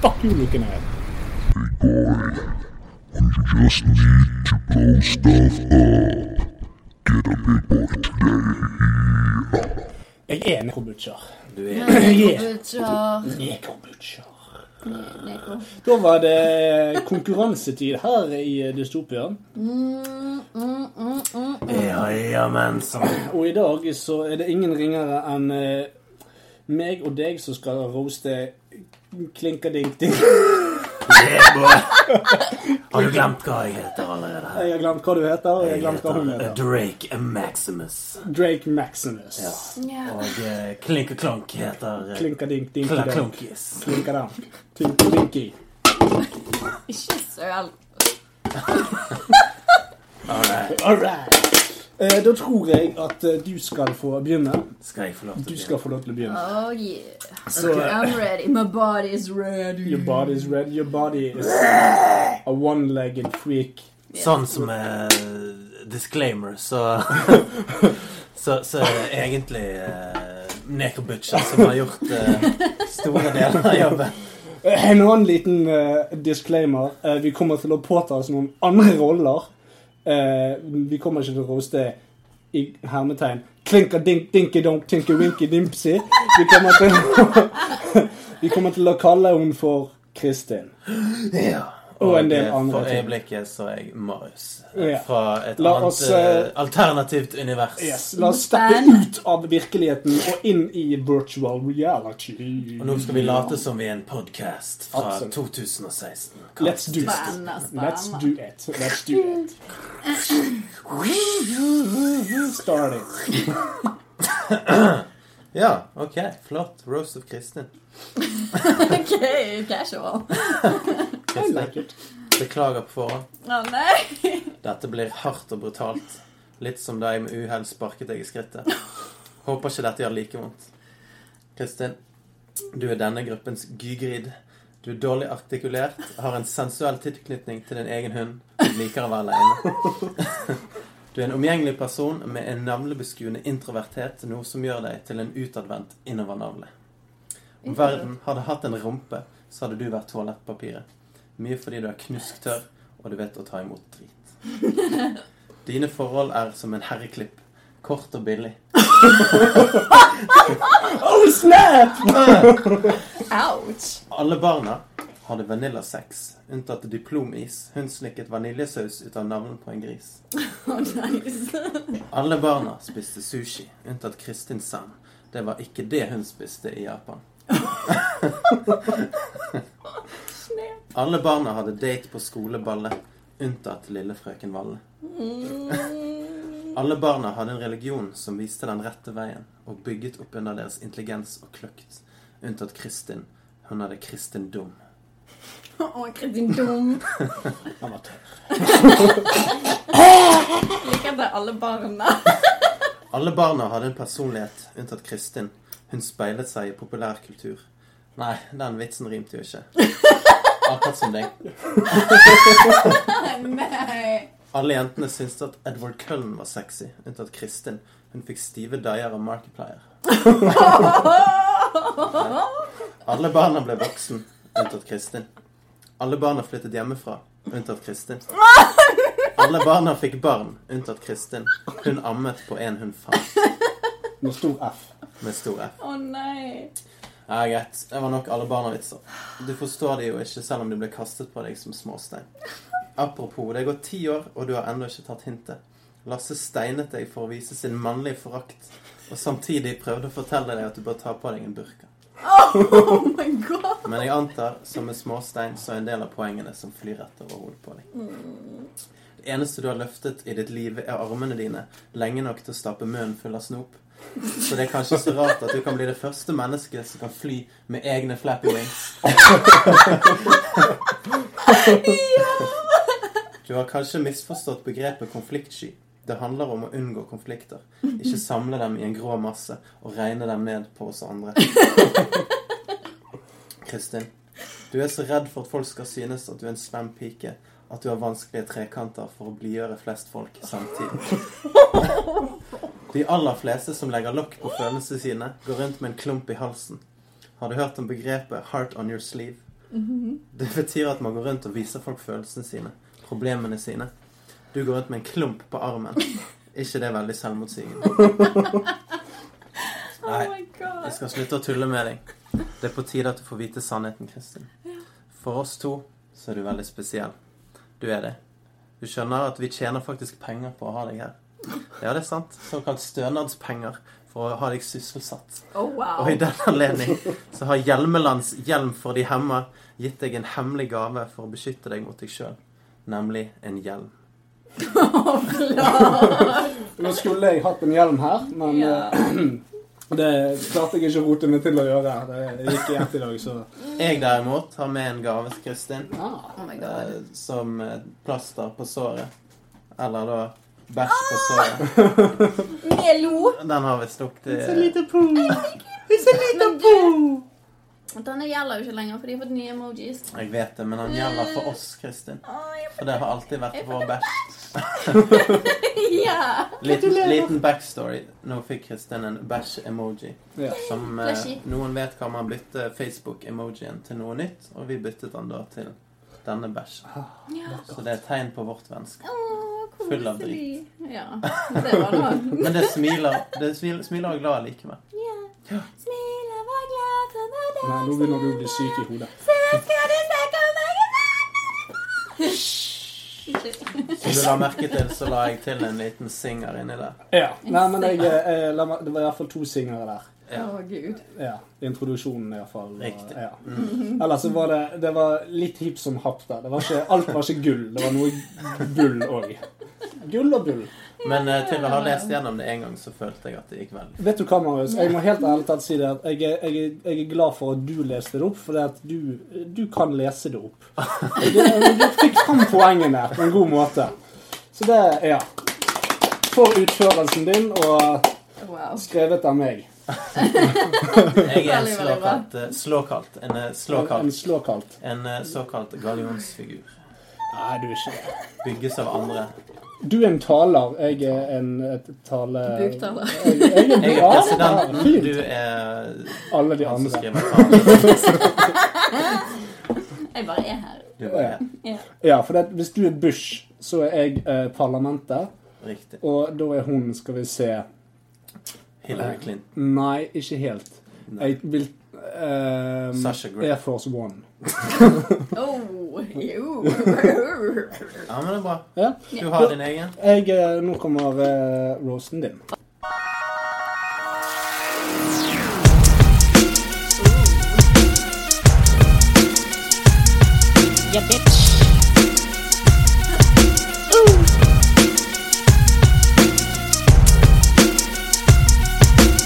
S3: Fuck you looking at. Big boy, you just need to blow stuff up. Get a big boy today. Jeg er nekrobutcher.
S7: Butcher.
S3: Nekrobutcher.
S7: Neko.
S3: Da var det konkurransetid her i Dystopia.
S7: Mm, mm, mm.
S8: Ja, ja, men så.
S3: Og i dag så er det ingen ringere enn eh, meg og deg som skal roaste Klinkadink-dink.
S8: Yeah, boy. Har du glemt hva jeg heter allerede? her?
S3: Jeg har glemt hva du heter, og jeg har glemt hva hun
S8: heter eh,
S3: heter.
S8: Drake Maximus.
S3: Drake Maximus.
S8: Ja.
S7: Ja.
S8: Og eh, Klink og Klonk heter eh, Klunk
S3: Klinkadink-dink-dink.
S8: Klonkis.
S3: Klinkadink. Tinkodinki.
S7: Ikke søl.
S3: All right. Eh, Da tror jeg at eh, du skal få begynne.
S8: Skal jeg få lov
S3: Du
S8: til å
S3: skal få lov til å begynne.
S7: Oh yeah.
S3: Så,
S7: Okay, I'm ready. My body is ready.
S3: Your body is red. Your body is a one-legged freak.
S8: begynne? Sånn som eh, disclaimer, så Så, så er det egentlig eh, Necrobutcher som har gjort eh, store deler av jobben.
S3: En annen liten eh, disclaimer. Eh, vi kommer til å påta oss noen andre roller. Eh, vi kommer ikke til å roaste i hermetegn klinka dink dinky donk tinky winky dimpsy. Vi kommer til å, vi kommer til å kalle henne for Kristin.
S8: Ja.
S3: Og en del
S8: eh,
S3: andre
S8: For
S3: ting.
S8: øyeblikket så er jeg Marius. eh,
S3: Ja.
S8: Fra et
S3: La
S8: annet
S3: oss, eh,
S8: eh, alternativt univers.
S3: Yes, La oss steppe ut av virkeligheten og inn i virtual reality.
S8: Og nå skal vi late som vi er en podkast fra
S3: Absolutt.
S8: 2016.
S3: Let's do it.
S7: Spennende,
S3: Let's
S7: spennende.
S3: do it. Let's do it. Start it.
S8: Ja, ok. Flott. Roast of Kristin.
S7: Ok, casual.
S8: Kristin. Beklager på forhånd.
S7: Å nei.
S8: Dette blir hardt og brutalt. Litt som da jeg med uhell sparket deg i skrittet. Håper ikke dette gjør like vondt. Kristin, du er denne gruppens gygrid. Du er dårlig artikulert, har en sensuell tilknytning til din egen hund og liker å være alene. Du er en omgjengelig person med en navlebeskuende introverthet, noe som gjør deg til en utadvendt innovernavle. Om verden hadde hatt en rumpe, så hadde du vært toalettpapiret. Mye fordi du er knusktørr, og du vet å ta imot drit. Dine forhold er som en herreklipp. Kort og billig.
S3: Oh, snap!
S7: Ouch.
S8: Alle barna hadde vaniljasex, unntatt diplomis, hundslikket vaniljesaus ut av navnet på en gris.
S7: Å nice.
S8: Alle barna spiste sushi, unntatt Kristin Sand. Det var ikke det hun spiste i Japan. Alle barna hadde date på skoleballet, unntatt lille frøken Valle. Alle barna hadde en religion som viste den rette veien, og bygget opp under deres intelligens og kløkt, unntatt Kristin. Hun hadde kristendom.
S7: Å, Kristin dum. Liker bare alle barna.
S8: Alle barna hadde en personlighet, unntatt Kristin. Hun speilet seg i populærkultur. Nei, den vitsen rimte jo ikke. Akkurat som deg.
S7: Nei.
S8: Alle jentene syntes at Edward Cullen var sexy, unntatt Kristin. Hun fikk stive dyer av Markiplier. Alle barna ble voksen, unntatt Kristin. Alle barna flyttet hjemmefra, unntatt Kristin. Alle barna fikk barn, unntatt Kristin. Hun ammet på en hun fant,
S3: Med stor F.
S8: med stor F.
S7: Å nei.
S8: Ja, greit. Det var nok alle barna-vitser. Du forstår de jo ikke selv om de ble kastet på deg som småstein. Apropos, det er gått ti år, og du har ennå ikke tatt hintet. Lasse steinet deg for å vise sin mannlige forakt, og samtidig prøvde å fortelle deg at du bør ta på deg en burka.
S7: Oh my god.
S8: Men jeg antar, som en småstein, så er en del av poengene som flyr etter over hodet på deg.
S7: Mm.
S8: Det eneste du har løftet i ditt liv, er armene dine, lenge nok til å stappe munnen full av snop. Så det er kanskje så rart at du kan bli det første mennesket som kan fly med egne flappy wings. Du har kanskje misforstått begrepet konfliktsky. Det handler om å unngå konflikter. Ikke samle dem i en grå masse og regne dem ned på oss andre. Kristin. Du er så redd for at folk skal synes at du er en slem pike, at du har vanskelige trekanter for å blidgjøre flest folk samtidig. De aller fleste som legger lokk på følelsene sine, går rundt med en klump i halsen. Har du hørt om begrepet 'heart on your sleeve'? Det betyr at man går rundt og viser folk følelsene sine, problemene sine. Du går rundt med en klump på armen. Ikke det veldig selvmotsigende? Nei.
S7: my god.
S8: Jeg skal slutte å tulle med deg. Det er på tide at du får vite sannheten, Kristin. For oss to så er du veldig spesiell. Du er det. Du skjønner at vi tjener faktisk penger på å ha deg her. Ja, det er sant. Såkalt stønadspenger for å ha deg sysselsatt.
S7: Oh, wow.
S8: Og i den anledning så har Hjelmelands hjelm for de hemma gitt deg en hemmelig gave for å beskytte deg mot deg sjøl, nemlig en hjelm.
S3: Nå skulle jeg hatt en hjelm her, men
S7: Ja.
S3: eh, det klarte jeg ikke å rote meg til å gjøre. Det gikk i ett i dag, så
S8: Jeg derimot har med en gave til Kristin
S3: ah.
S7: Oh my god.
S8: eh, som eh, plaster på såret. Eller da bæsj på såret.
S7: Melo!
S8: Den har visst lukket
S7: Men du, denne gjelder jo ikke lenger, for de har fått nye emojis.
S8: Jeg vet det, men den gjelder for oss, Kristin. For det har alltid vært
S7: Jeg
S8: vår
S7: får
S8: bæsj.
S7: Ja!
S8: Liten, liten backstory. Nå fikk Kristin en bæsj-emoji.
S3: Ja.
S8: Som eh,
S7: Flashy.
S8: Noen vet hva man bytter Facebook-emojien til noe nytt, og vi byttet den da til denne bæsjen. Så det er et tegn på vårt vennskap.
S7: Åh,
S8: Full av
S7: koselig. Ja, det var noe.
S8: Men det smiler, det smil- smiler og glad likevel.
S7: Ja. Smil og vær glad for hver dag
S3: Nei, nå begynner du å bli syk i hodet.
S7: Så skal du snakke om meg i verden.
S8: Som du la merke til, så la jeg til en liten singer inni der.
S3: Ja. Nei, men jeg, eh, la meg, det var i hvert fall to singere der.
S7: Å, Gud.
S3: Ja. Introduksjonen, i hvert fall. var-
S8: Riktig.
S3: Ja. Ellers så var det, det var litt hipp som happ der. Det var ikke, alt var ikke gull. Det var noe bull òg. Gull og bull.
S8: Men eh, til å ha lest gjennom det en gang, så følte jeg at det gikk veldig
S3: Vet du hva, Marius? Jeg må helt ærlig talt si det at jeg er, jeg, er- jeg er glad for at du leste det opp, for det at du, du kan lese det opp. Du, du fikk fram poengene på en god måte. Så det Ja. For utførelsen din, og
S7: Wow.
S3: skrevet av meg.
S8: Jeg er en
S7: Veldig, veldig bra.
S8: slåkalt, eh, slåkalt en
S3: En,
S8: eh,
S3: en
S8: slåkalt,
S3: slåkalt.
S8: en eh, såkalt gallionsfigur.
S3: Nei, du er ikke det.
S8: Bygges av andre.
S3: Du er en taler. Jeg er en et tale...
S7: Buktaler.
S3: Jeg, jeg er en
S8: Jeg er
S3: bra
S8: presidenten,
S3: taler. Fint.
S8: du er
S3: Alle de
S8: han som
S3: andre.
S8: skriver talen.
S7: Jeg bare er her.
S8: Du er
S7: Ja.
S3: Ja, for det, at hvis du er Bush, så er jeg eh, parlamentet,
S8: riktig.
S3: og da er hun, skal vi se
S8: Hillary Clinton.
S3: Nei, ikke helt.
S8: Nei.
S3: Jeg vil ehm,
S8: Sasha Grey.
S3: Air Force One.
S7: Oh, jo.
S8: Ja, men det er bra.
S3: Ja.
S8: Du har din egen.
S3: Jeg, eh, nå kommer eh, rosen din.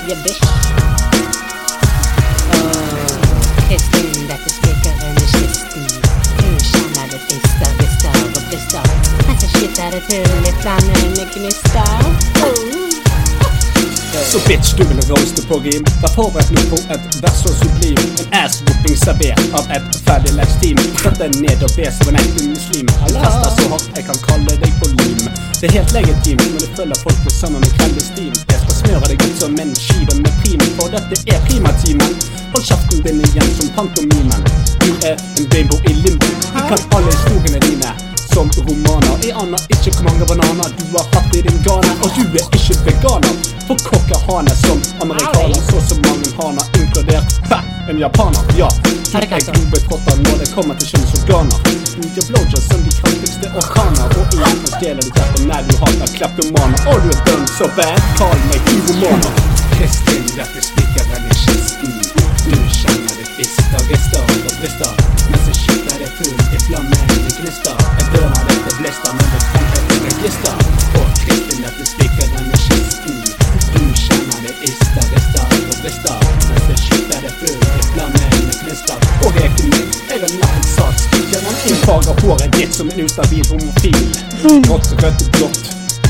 S11: Yeah, bitch. Oh, Kristen, dat is dikker en een shisten. Hun sjang naar de feester, gister og blister. Masse shit er et hull i planene gnister.
S3: Så bitch, du vil roaste på rim. Vær forberedt nå på et vers så sublim. En ass-whooping servert av et ferdig leksteam. Sett deg ned og be som en ekte muslim. Fester så hardt jeg kan kalle deg for lim. Det er helt legitimt når du følger folk på sammen med klandestin. Jeg skal smøre deg ut som en skive med prim, for dette er primatimen. Hold kjeften din igjen som pantomimen. Du er en bimbo i limbo. Du kan alle historiene dine. som romaner. Jeg aner ikke hvor mange bananer du har hatt i din gane. Og du er ikke veganer, for kokker haner som amerikaner. Så som mange haner, inkludert bæ, en japaner. Ja, du er globetrotter når det kommer til kjønnsorganer. Du gir blowjobs som de kraftigste orkaner. Og igjen så stjeler du teppet når du hater kleptomaner. Og du er dønn så bad, kall meg kyromaner. Kristin, dette spiker i kisten. Du kjenner det fister, rister og brister. Mens jeg skyter det fullt i flammende gnister. Jeg dører dette blister, men det kan ikke glister. Og Kristin, dette spiker i kisten. Du kjenner det ister, rister og brister. Mens jeg skyter det fullt i flammende gnister. Og jeg er ikke min, jeg er nær en sats. Gjennom innfarger håret ditt som en ustabil homofil. Grått, rødt, blått.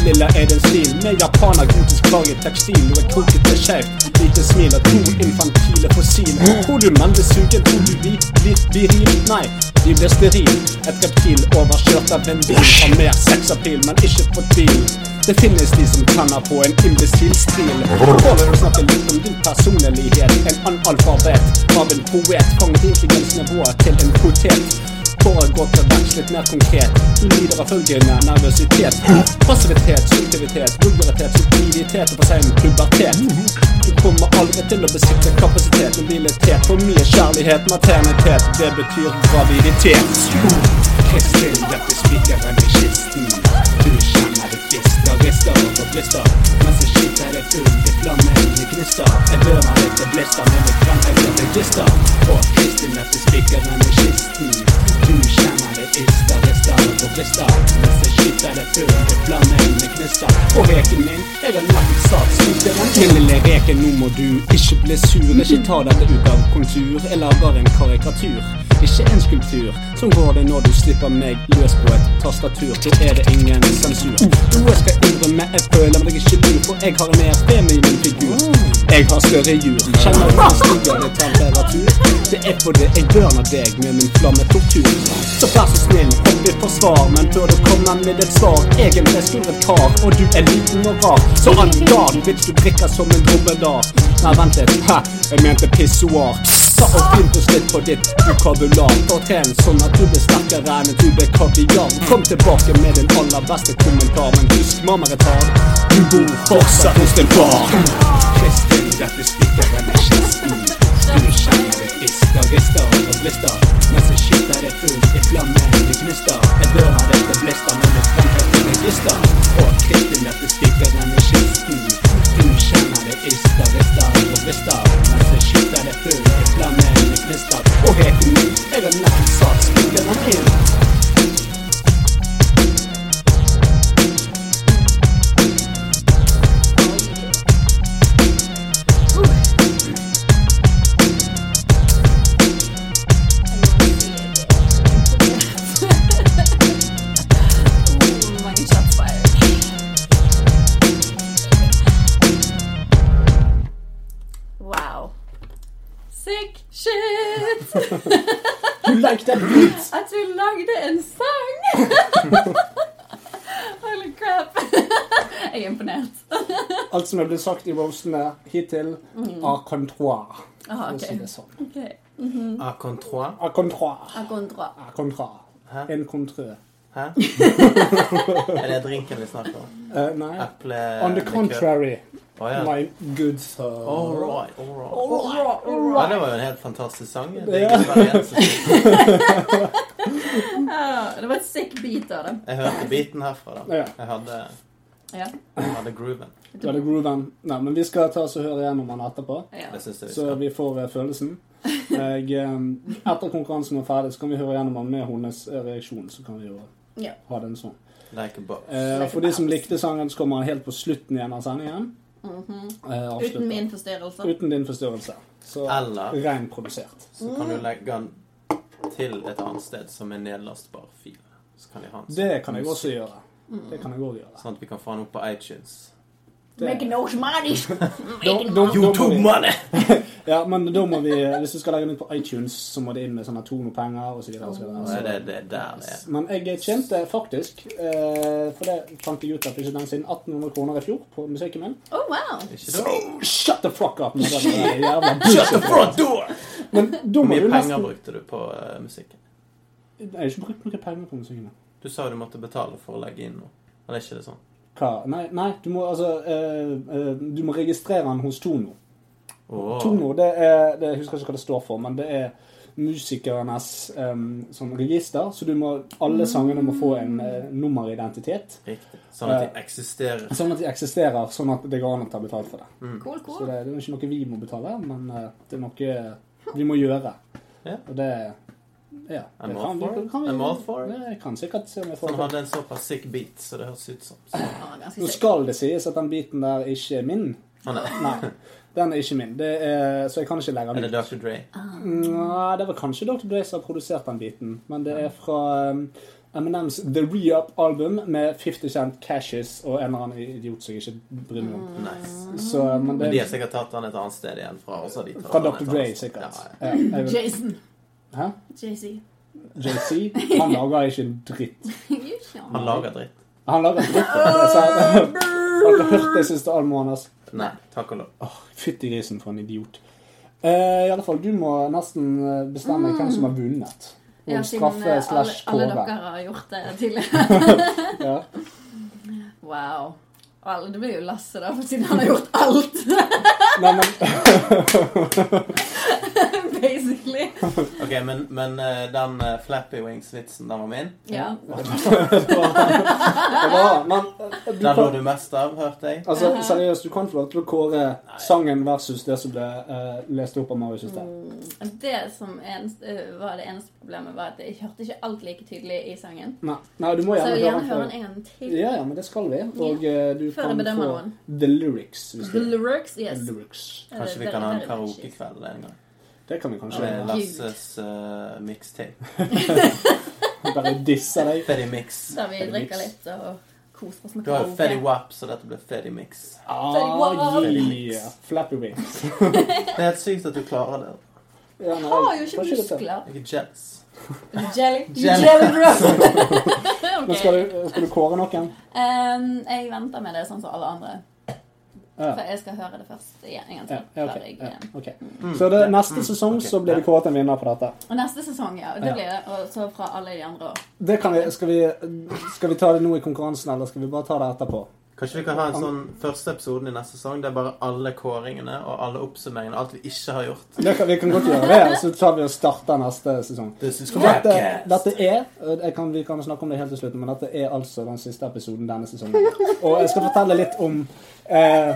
S3: Lilla er den stil med japaner, gotisk farge, tekstil. Du er krokete skjevt, lite smil og to infantile fossil. Tror du menn blir sugen, tror du vi blir viril? Nei, de blir steril. Et reptil overkjørt av en bil. Har mer sexappeal, men ikke på tvil. Det finnes de som tenner på en imbesil stil. Tåler å snakke litt om din personlighet. En analfabet av en poet. Fanget intelligensnivået til en potet. Håret går til verks litt mer konkret. Du lider av følgende nervøsitet. Passivitet, subjektivitet, vulgaritet, stupiditet og for sen pubertet. Du kommer aldri til å besitte kapasitet, mobilitet, for mye kjærlighet, maternitet. Det betyr graviditet. Kristin, dette spikeren i kisten. Du kjenner det fister, rister og forblister. Mens jeg skiter det full, det flammer i gnister. Jeg dør av dette blister, men jeg kan ikke det glister. Og Kristin, dette spikeren i kisten. Du kjenner det ister, rister og forblister. Mens jeg skyter det før det flammer med gnister. Og reken min er en lagt statsministeren. Lille reken, nå må du ikke bli sur. Ikke ta dette ut av kontur. Jeg lager en karikatur, ikke en skulptur. Sånn går det når du slipper meg løs på et tastatur. Så er det ingen sensur. Noe skal innrømme, jeg føler meg ikke lur, for jeg har en mer feminin figur. Jeg har større jur. Kjenner du stiger det temperatur? Det er på det jeg burner deg med min flammetortur. Så vær så snill, hopp i forsvar, men før du kommer med et svar Egentlig skulle et kar, og du er liten og rar. Så andan, bitch, du drikker som en dromedar. Nei, vent litt, hæ, jeg mente pissoar. Ta og finn på slutt på ditt vokabular. Og tren sånn at du blir sterkere enn en tube kaviar. Kom tilbake med din aller beste kommentar, men husk mamma jeg tar. Du bor fortsatt hos din far. Kristin, dette spikeren i kisten. Du kjenner det ister, rister og blister. Mens jeg skyter det fullt i flammer i gnister. Jeg dør av dette blister, men det fremhever register. Og Kristin, dette spikeren i kisten. Du kjenner det ister, rister og blister. Mens jeg skyter det fullt i flammer i gnister. Og reken min er en nærmsatt spikeren inn.
S7: Oh my god, shots fired. Wow. Sick shit!
S3: You like that beat?
S7: At vi lagde en sang! Holy crap. Jeg er imponert.
S3: Alt som er blitt sagt i Rosene hittil, a controir.
S7: Aha,
S3: for å
S7: ok.
S3: si det sånn.
S7: Ok.
S8: A controi.
S3: A controir.
S7: Jeg går en dra.
S3: A contra.
S8: Hæ?
S3: En kontrø.
S8: Hæ? Er det drinken vi snakker om?
S3: Eh, nei.
S8: Eple...
S3: On the
S8: likør?
S3: contrary,
S8: Å, ja.
S3: my good sir.
S8: All right, all right. Ja,
S7: Alright.
S8: det var jo en helt fantastisk sang. Det er ikke bare en som-
S7: Ja, Ah, Det var et sick beat av det.
S8: Jeg hørte beaten herfra, da.
S3: Ja.
S8: Jeg hadde,
S7: Ja.
S8: jeg hadde grooven.
S3: Det var det grooven. Nei, men vi skal ta oss og høre gjennom han etterpå,
S7: ja.
S8: Det syns jeg vi
S3: så
S8: skal.
S3: vi får eh, følelsen. Jeg, eh, etter konkurransen er ferdig, så kan vi høre gjennom han med hennes eh, reaksjon, så kan vi jo
S7: Ja.
S3: ha den sånn.
S8: Like a box.
S3: Eh, for de som likte sangen, så kommer han helt på slutten igjen av sendingen. Eh, avslutter.
S7: Mhm. Uten min forstyrrelse.
S3: Uten din forstyrrelse. Så
S8: Eller
S3: rein produsert.
S8: så kan du legge den til et annet sted som en nedlastbar fil. Så kan de ha den sånn.
S3: Det kan jeg også gjøre. Det kan jeg også gjøre.
S8: Sånn at vi kan få den opp på iTunes.
S7: Making those money.
S3: Da, da, da må vi,
S8: money!
S3: ja, men da må vi, hvis du skal legge den ut på iTunes, så må det inn med sånne tonopenger og så videre. Og så videre.
S8: Det er det er der det er.
S3: Men jeg tjente faktisk, eh, for det fant jeg ut at ikke den siden 1800 kroner i fjor på musikken min.
S7: Oh, wow.
S8: Ikke da?
S3: Shut the fuck up! Med den der jævla bullshit.
S8: Front door!
S3: Men da
S8: Hvor
S3: må
S8: mye
S3: du
S8: penger
S3: nesten
S8: brukte du på eh, musikken?
S3: Jeg har ikke brukt noe penger på musikken min.
S8: Du sa jo du måtte betale for å legge inn noe. Eller er ikke det sånn?
S3: Hva? Nei, nei du må altså eh, eh, Du må registrere den hos Tono.
S8: Åh.
S3: Tono, det er det, Jeg husker ikke hva det står for, men det er musikernes eh, sånn register. Så du må, alle sangene må få en eh, nummeridentitet.
S8: Riktig. Sånn at de eksisterer.
S3: Sånn at de eksisterer, sånn at det går an å ta betalt for det.
S7: Cool,
S3: Så
S7: cool.
S3: det, det er ikke noe vi må betale, men eh, det er noe vi må gjøre.
S8: Ja.
S3: Og det Ja.
S8: I'm
S3: det
S8: all
S3: kan vi-
S8: for it.
S3: kan vi-
S8: I'm all for it.
S3: Ja, Jeg kan sikkert se om jeg får
S8: Han
S3: det.
S8: hadde en såpass sick beat, så det hørtes ut som så-
S7: Ja, ganske
S3: Nå
S7: sick.
S3: skal det sies at den biten der ikke er min.
S8: Å, nei.
S3: Nei, den er ikke min. Det er, så jeg kan ikke legge
S8: Er
S3: den
S8: det
S3: ut.
S8: Dr. Dre?
S3: Nei, det var kanskje Dr. Dre som har produsert den biten, men det er fra um,
S5: Eminems The Re-Up-album med 50 Cent Cashes og en eller annen idiot som jeg ikke bryr meg om.
S8: Nice.
S5: Så, men
S8: Men de har
S5: det,
S8: sikkert tatt han et annet sted igjen fra. og så har de tatt
S5: fra
S8: han et
S5: Dr. Dre,
S8: annet sted.
S5: sikkert.
S8: Ja, ja.
S5: Ja, jeg vil-
S7: Jason.
S5: Hæ?
S7: JC.
S5: JC? Han lager ikke en dritt.
S8: Han lager dritt.
S5: Han lager en dritt. da. Så, har dere hørt det siste albumet hans?
S8: Nei, takk og lov.
S5: Åh, Fytti grisen for en idiot. Eh, I alle fall, du må nesten eh, bestemme hvem som har vunnet.
S7: Mm. Ja,
S5: Og
S7: siden eh,
S5: straffe
S7: alle,
S5: slash
S7: alle
S5: kåre.
S7: dere har gjort det tidligere.
S5: Ja.
S7: Wow. Og alle, det blir jo Lasse, da, for siden han har gjort alt.
S5: Nei, men
S7: Basically.
S8: Ok, Men, men eh, den eh, Flappy Wings-vitsen, den var min.
S7: Ja.
S5: det var Men eh, du
S8: Den lo
S5: kan,
S8: du mest av, hørte jeg.
S5: altså, seriøst, du kan få lov til å kåre sangen versus det som ble eh, lest opp av Marius i sted.
S7: Mm. Det som eneste, eh, var det eneste problemet, var at jeg hørte ikke alt like tydelig i sangen.
S5: Nei, nei, du må
S7: Så jeg
S5: gjerne
S7: vil gjerne høre
S5: høre
S7: den en gang til.
S5: Ja, ja, men det skal vi. Og eh, du
S7: Før jeg
S5: kan
S7: bedømmer
S5: få
S7: noen.
S5: the lyrics. Hvis
S7: The
S5: du,
S7: lyrics, yes.
S5: lyrics.
S8: Kanskje vi kan ha en karaokekveld en gang.
S5: Det kan vi kanskje
S8: Med
S5: gjøre.
S8: Lasses uh, mixtape.
S5: Bare disse deg.
S8: Fetty Mix.
S7: Der vi
S5: Fetty
S7: drikker
S5: Mix.
S7: litt og koser oss med
S8: Du har jo Fetty
S7: karaoke.
S8: Wap, så dette blir Fetty Mix.
S5: Ah,
S7: Fetty
S5: yeah. Flappy wings.
S8: Det er helt sykt at du klarer det.
S5: Ja, nei,
S7: Jeg har jo
S5: var
S7: ikke
S5: dette.
S7: muskler.
S8: Jeg er jealous.
S7: Jelly.
S8: Jelly.
S7: Jelly drop.
S5: Men
S7: Ok.
S5: skal du, skal du kåre noen?
S7: Em, jeg venter med det sånn som alle andre.
S5: Ja.
S7: For jeg skal høre det først igjen. En
S5: Ja,
S7: gang til.
S5: ja, ok.
S7: før jeg, eh,
S5: Ja,
S7: em.
S5: ok.
S7: Mm.
S5: Så det, neste sesong
S8: ok.
S5: så blir det kåret en vinner på dette.
S7: Og neste sesong, ja.
S5: Ja.
S7: og Det blir det. Og så fra alle de andre òg.
S5: Det kan vi, skal, vi, skal vi ta det nå i konkurransen, eller skal vi bare ta det etterpå?
S8: Kanskje vi kan ha en sånn første episoden i neste sesong der bare alle kåringene og alle oppsummeringene, alt vi ikke har gjort.
S5: Det kan, vi kan godt gjøre det, så tar vi og starter neste sesong.
S8: This is
S5: Dette,
S8: podcast.
S5: dette er jeg kan, Vi kan snakke om det helt til slutten, men dette er altså den siste episoden denne sesongen. Og jeg skal fortelle litt om eh,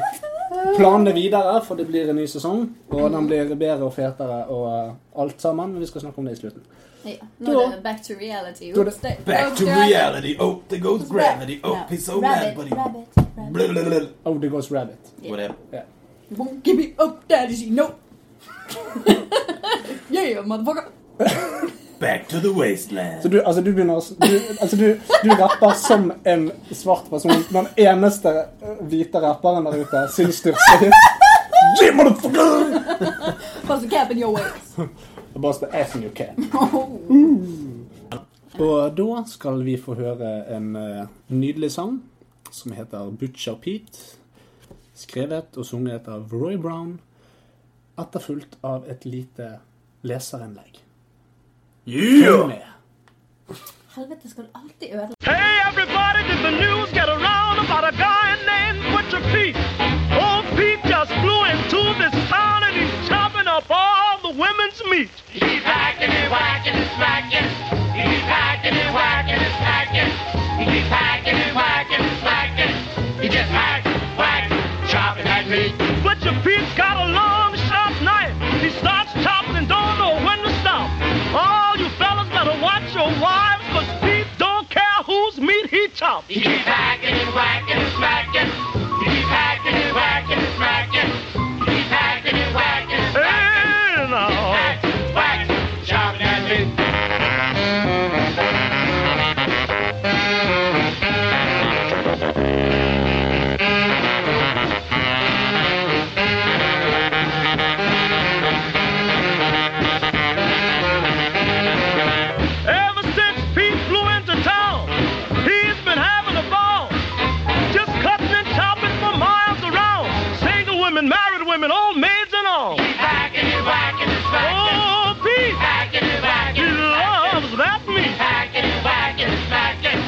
S5: planene videre, for det blir en ny sesong. Og den blir bedre og fetere og eh, alt sammen, men vi skal snakke om det i slutten.
S7: Ja.
S5: Da-
S7: Nå er det back to reality.
S5: Da er det
S7: Oops, det-
S8: Back to
S7: Oh, God.
S8: reality. Oh, there goes gravity. Oh,
S7: No.
S8: he's so mad,
S7: rabbit,
S8: buddy.
S7: Rabbit, rabbit.
S8: Blah, blah, blah.
S5: Oh, the goes rabbit.
S8: Whatever.
S7: Won't give me up, daddy. She no. yeah, motherfucker.
S8: Back to the wasteland.
S5: Så du, altså, du begynner å s- du, altså, du, du rapper som en svart person. Den eneste eh, hvite rapperen der ute. Sin største hit. Yeah, motherfucker!
S7: Bust a cap in your waist.
S5: Bare spør ass in your cap.
S7: Oh.
S5: Og da skal vi få høre en eh, nydelig sang som heter Butcher Pete. Skrevet og sunget av Roy Brown. Etterfulgt av et lite leserinnlegg. Følg med.
S7: Helvete, skal du alltid ødelegge
S4: Hey, everybody, did the news get around about a guy named Butcher Pete? Old Pete just flew into this town and he's chopping up all the women's meat.
S12: He's hacking and whacking and smacking. He's hacking and whacking and smacking. He's hacking and whacking and smacking. He just hack, whack, chopping at me.
S4: Butcher Pete's got a long, sharp knife. He starts chopping and don't know when to stop. All you fellas better watch your wives, cause Pete don't care whose meat he chops.
S12: He's hacking and whacking and smacking. He's hacking and whacking and smacking. He's hacking and whacking and smacking.
S4: Hey, now.
S12: Hack, whack, chopping at me.
S4: Ever since Pete flew into town, he's been having a ball. Just cutting and chopping for miles around. Single women, married women, old maids and all.
S12: He's hacking and whacking and smacking.
S4: Oh, Pete,
S12: Hacking and
S4: he
S12: whacking and smacking.
S4: loves that meat.
S12: Hacking and whacking and smacking.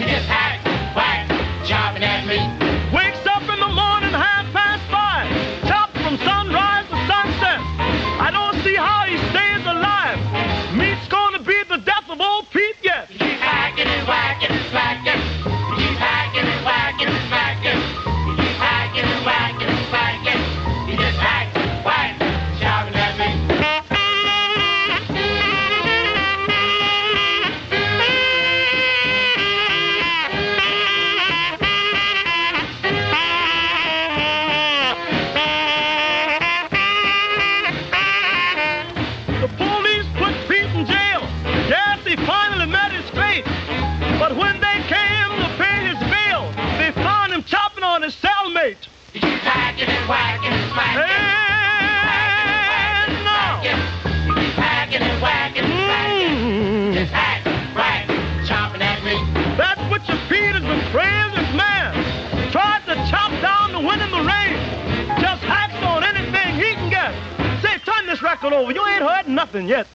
S12: He just hack, whack, chopping at me.
S4: Wakes up in the morning, half past five. Chopped from sunrise to sunset. I don't see how he stays alive. Meat's gonna be the death of old Pete yet.
S12: He's hacking and whacking and smacking. He's hacking and whacking and smacking. He's hacking and whacking and smacking. He just hack, whack, chopping at me.
S4: But when they came to pay his bill, they found him chopping on his cellmate.
S2: Packing and whacking and smacking.
S4: And now,
S2: Packing and whacking and smacking. Just hack, whack, chopping at me.
S4: Mm, that's what your Peter's been praying this man. Tried to chop down the wind in the rain. Just hacks on anything he can get. Say, turn this record over. You ain't heard nothing yet.